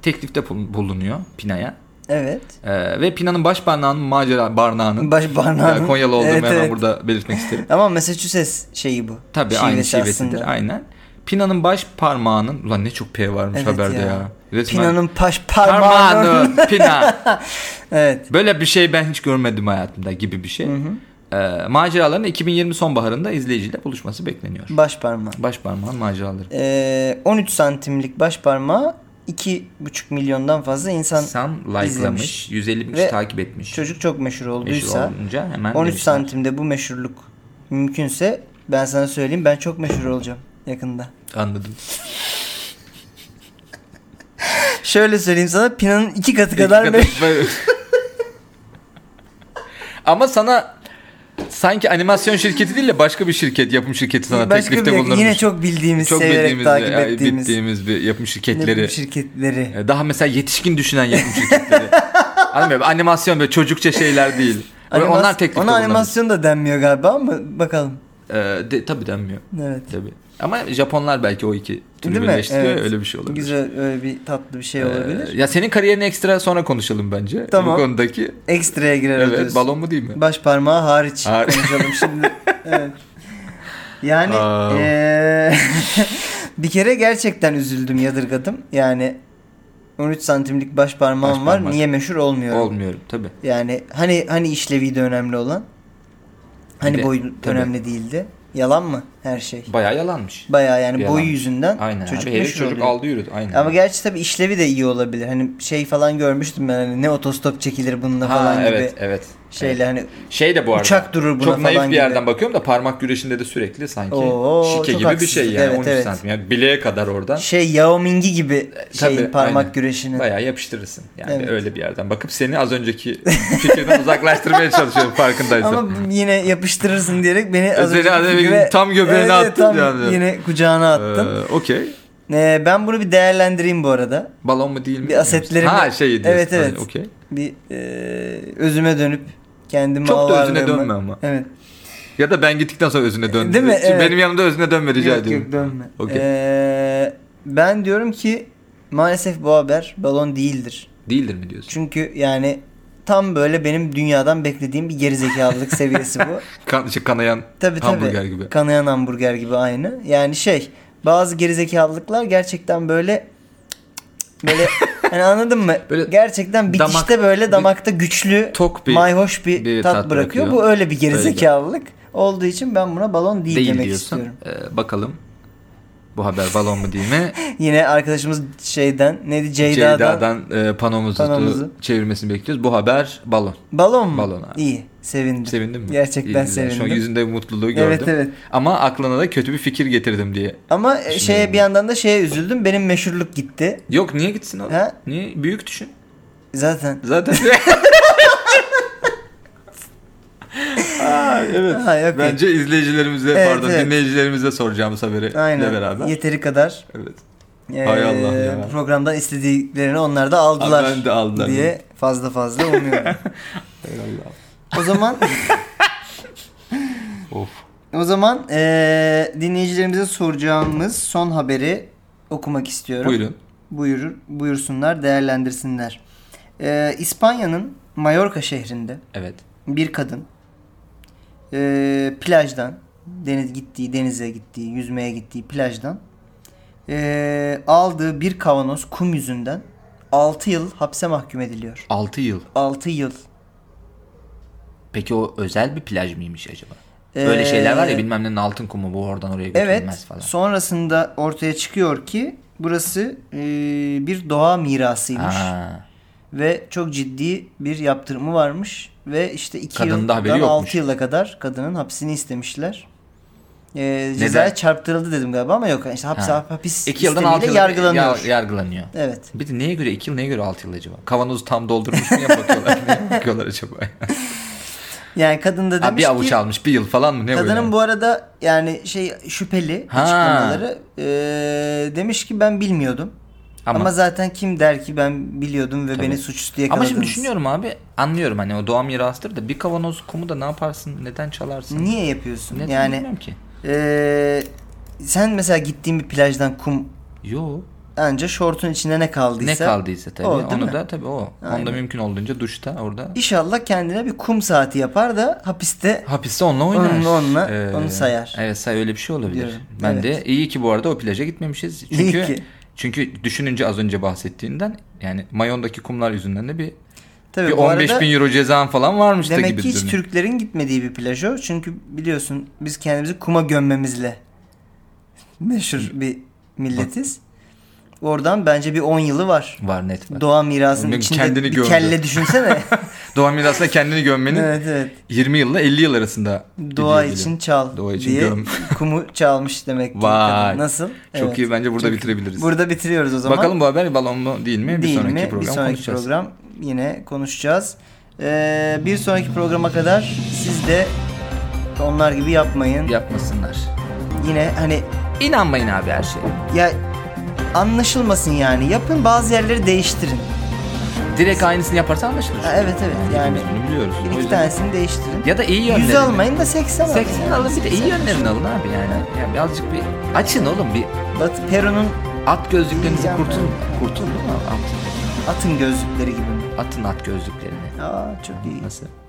teklifte bul- bulunuyor Pina'ya.
Evet.
Ee, ve Pina'nın baş barnağının macera barnağının
Baş barnağının.
Ya Konyalı olduğumu
Evet,
hemen
evet.
burada
[LAUGHS]
belirtmek isterim.
Ama Massachusetts şeyi bu.
Tabii
Şivesi
aynı şivesidir
aslında.
aynen. Pina'nın baş parmağının ulan ne çok P varmış
Evet
haberde ya.
ya.
Resmen
Pina'nın paş parmağının.
parmağının [LAUGHS] Pina.
[LAUGHS] evet.
Böyle bir şey ben hiç görmedim hayatımda gibi bir şey. Ee, maceraların 2020 sonbaharında izleyiciyle buluşması bekleniyor.
Baş parmağı.
Baş parmağın maceraları.
Ee, 13 santimlik baş parmağı 2,5 milyondan fazla insan
Sen likelamış,
izlemiş.
150 bin
Ve
kişi takip etmiş.
çocuk çok meşhur
Meşhur
olduysa
olunca hemen
13
demişler.
santimde bu meşhurluk mümkünse ben sana söyleyeyim ben çok meşhur olacağım yakında.
Anladım.
Şöyle söyleyeyim sana Pina'nın iki katı
İki
kadar meşhur.
böyle- Ama sana sanki animasyon şirketi değil de başka bir şirket, yapım şirketi [LAUGHS] sana
Başka
teklifte
bir
bulunmuş.
yine çok bildiğimiz,
Çok
severek
bildiğimiz,
takip
ya,
ettiğimiz
bildiğimiz bir yapım şirketleri.
yapım şirketleri.
Ee, Daha mesela yetişkin düşünen yapım şirketleri.
[LAUGHS]
Anlamıyorum. Animasyon böyle çocukça şeyler değil. Böyle
Animas-
onlar teklifte
ona
bulunabilir.
animasyon da denmiyor galiba ama bakalım.
Ee, de, tabii denmiyor.
Evet.
Tabii. Ama Japonlar belki o iki türü
Değil mi?
birleştiriyor ya,
Evet.
öyle bir şey olabilir.
Güzel öyle bir tatlı bir şey
Ee,
olabilir.
ya senin kariyerini ekstra sonra konuşalım bence.
Tamam.
Bu konudaki.
Ekstraya girer o
Evet,
diyorsun.
balon mu değil mi?
Baş parmağı hariç
Har-
konuşalım
[LAUGHS]
şimdi. evet. Yani
Aa.
eee, [LAUGHS] bir kere gerçekten üzüldüm, yadırgadım. Yani 13 santimlik baş parmağım
Baş
var.
parmak.
Niye meşhur olmuyorum?
Olmuyorum tabii.
Yani hani hani işlevi de önemli olan. Hani
Bir de-
boyu
tabii.
önemli değildi. Yalan mı her şey?
Bayağı yalanmış.
Bayağı yani
Yalan.
boyu yüzünden
Aynen.
çocuk
Çocuk abi, herif
meşhur
çocuk
oluyor.
aldı yürüdü. Aynen.
Ama gerçi tabii işlevi de iyi olabilir. Hani şey falan görmüştüm ben hani ne otostop çekilir bununla
Ha,
falan
evet,
gibi
evet.
şeyle hani
Şey de bu arada.
Uçak durur buna
Çok naif
falan
bir
gibi.
yerden bakıyorum da parmak güreşinde de sürekli sanki
Oo, çok
şike gibi bir
haksızlık.
şey yani.
Evet,
13
evet.
santim. Yani bileğe kadar oradan.
şey Yao Ming'i gibi şeyin
tabii,
parmak
aynen.
güreşinin.
Bayağı yapıştırırsın. Yani
Evet.
öyle bir yerden bakıp seni az önceki [LAUGHS] fikirden uzaklaştırmaya çalışıyorum farkındaysan.
Ama bu- yine yapıştırırsın diyerek beni az
Seni
önceki
az önce
figüre-
tam göbeğine
Evet,
attın
tam
yani.
Yine kucağına attın.
Ee, Okey.
Ee, ben bunu bir değerlendireyim bu arada.
Balon mu değil mi?
Bir asetlerimi-
Ha şey diyorsun.
Evet, evet.
Ha, Okey.
Bir e, özüme dönüp kendimi
Çok da özüne
ağlarlarımı-
dönme ama.
Evet.
Ya da ben gittikten sonra özüne dön.
Değil mi?
Şimdi
Evet.
Benim yanımda özüne dönme rica
yok,
ediyorum.
Yok dönme.
Okey.
Ee, ben diyorum ki maalesef bu haber balon değildir.
Değildir mi diyorsun?
Çünkü yani tam böyle benim dünyadan beklediğim bir gerizekalılık seviyesi
[LAUGHS]
bu.
Kan, şey, kanayan
Tabii tabii.
hamburger gibi.
Kanayan hamburger gibi aynı. Yani şey bazı gerizekalılıklar gerçekten böyle böyle hani anladın mı?
Böyle
gerçekten
damak-
bitişte böyle
bir-
damakta güçlü
tok bir-
mayhoş bir,
bir
tat,
tat
bırakıyor.
bırakıyor.
Bu öyle bir
Öyle.
gerizekalılık olduğu için ben buna balon değil,
değil
demek
diyorsun.
istiyorum.
Ee, bakalım. Bu haber balon mu
[LAUGHS]
değil mi?
Yine arkadaşımız şeyden neydi Ceyda'dan,
Ceyda'dan e, panomuzu,
Panomuzu.
çevirmesini bekliyoruz. Bu haber balon.
balon mu?
Balon abi.
İyi sevindim.
Sevindin mi?
Gerçekten
İyi, güzel.
sevindim.
Şu an yüzünde mutluluğu gördüm.
Evet evet.
Ama aklına da kötü bir fikir getirdim diye.
Ama e, şeye bir yandan da şeye üzüldüm. Benim meşhurluk gitti.
Yok niye gitsin oğlum?
He?
Niye? Büyük düşün.
Zaten [LAUGHS]
Zaten. Aa, evet.
Ha, yok, yok.
Bence izleyicilerimize
Evet,
pardon
evet.
dinleyicilerimize soracağımız haberi
Aynen.
de beraber.
Yeteri kadar
evet.
e,
Hay Allah ya.
bu programdan istediklerini onlar da aldılar,
Abi ben de aldılar.
diye
[LAUGHS]
fazla fazla umuyorum.
Eyvallah.
o zaman
Of.
O zaman eee dinleyicilerimize soracağımız son haberi okumak istiyorum.
Buyurun.
Buyurur, buyursunlar, değerlendirsinler. Eee, İspanya'nın Mallorca şehrinde
Evet.
bir kadın eee, plajdan deniz gittiği denize gittiği yüzmeye gittiği plajdan eee, aldığı bir kavanoz kum yüzünden 6 yıl hapse mahkum ediliyor.
6 yıl.
6 yıl.
Peki o özel bir plaj mıymış acaba? Böyle şeyler var ya bilmem ne altın kumu bu oradan oraya götürülmez
Ee, Evet.
falan.
Sonrasında ortaya çıkıyor ki burası e, bir doğa mirasıymış
Ha,
ve çok ciddi bir yaptırımı varmış ve işte 2
Kadının da haberi
yıldan
yokmuş.
6 yıla kadar kadının hapsini istemişler. E, cezaya çarptırıldı dedim galiba ama yok işte hapis,
Ha.
hapis
iki yıldan
istemiyle
altı yıl
yargılanıyor.
yar- yargılanıyor.
Evet.
Bir de neye göre 2 yıl neye göre 6 yıl acaba? Kavanozu tam doldurmuş mu ya
[LAUGHS]
bakıyorlar? neye bakıyorlar acaba?
Yani kadın da
ha,
demiş
bir avuç
ki
almış bir yıl falan mı ne böyle?
kadının bu arada yani şey şüpheli
Ha.
açıklamaları e, demiş ki ben bilmiyordum. Ama,
Ama-
zaten kim der ki ben biliyordum ve beni suçüstü
Ama
yakaladınız.
şimdi düşünüyorum abi anlıyorum hani o doğa mirastır da bir kavanoz kumu da ne yaparsın neden çalarsın?
Niye yapıyorsun?
Neden
yani
bilmiyorum ki.
eee, sen mesela gittiğin bir plajdan kum
Yo
anca şortun içinde ne kaldıysa.
ne kaldıysa tabii
o, değil
onu
mi?
da tabii o. Onda mümkün olduğunca duşta orada.
İnşallah kendine bir kum saati yapar da hapiste
Hapiste onunla oynar.
Onunla, onunla, onu sayar.
Evet say öyle bir şey olabilir.
Diyorum,
Ben
evet.
de iyi ki bu arada o plaja gitmemişiz.
İyi
Çünkü
ki.
çünkü düşününce az önce bahsettiğinden yani Mayon'daki kumlar yüzünden de bir,
tabii
bir
bu
15
arada
bin euro cezan falan varmış da
demek
gibi
ki hiç
duruyor.
Türklerin gitmediği bir plaj o. Çünkü biliyorsun biz kendimizi kuma gömmemizle meşhur bir milletiz. Oradan bence bir 10 yılı var.
var net var.
Doğa mirasının
Kendini
içinde bir
gömdü.
kelle
[LAUGHS]
düşünsene.
Doğa mirasına kendini gömmenin
evet evet.
20 yılla 50 yıl arasında
Doğa
gidiyor,
için
geliyor.
çal
Doğa için
diye
göm.
[LAUGHS] kumu çalmış demek ki.
Vay.
Nasıl?
Çok
Evet.
iyi bence burada bitirebiliriz.
Burada bitiriyoruz o zaman.
Bakalım bu haber balon mu değil
Değil
mi? bir sonraki
mi?
program
bir sonraki
konuşacağız.
program yine konuşacağız. Ee, bir sonraki programa kadar siz de onlar gibi yapmayın.
Yapmasınlar.
Yine hani
İnanmayın abi her şey. şeye.
ya anlaşılmasın yani. Yapın bazı yerleri değiştirin.
Direkt aynısını yaparsan anlaşılır.
Ha, evet evet yani.
Biz bunu biliyoruz. O
iki
yüzden-
tanesini değiştirin.
Ya da iyi yönlerini.
Yüz almayın da 80 alın.
80 alın bir de iyi yönlerini alın abi yani. yani birazcık bir açın oğlum bir
Batı Peru'nun
at gözlüklerinizi
Yiyeceğim
kurtun.
ben.
Kurtun değil mi? At,
atın gözlükleri gibi mi?
atın at gözlüklerini.
Aa çok iyi.
Nasıl?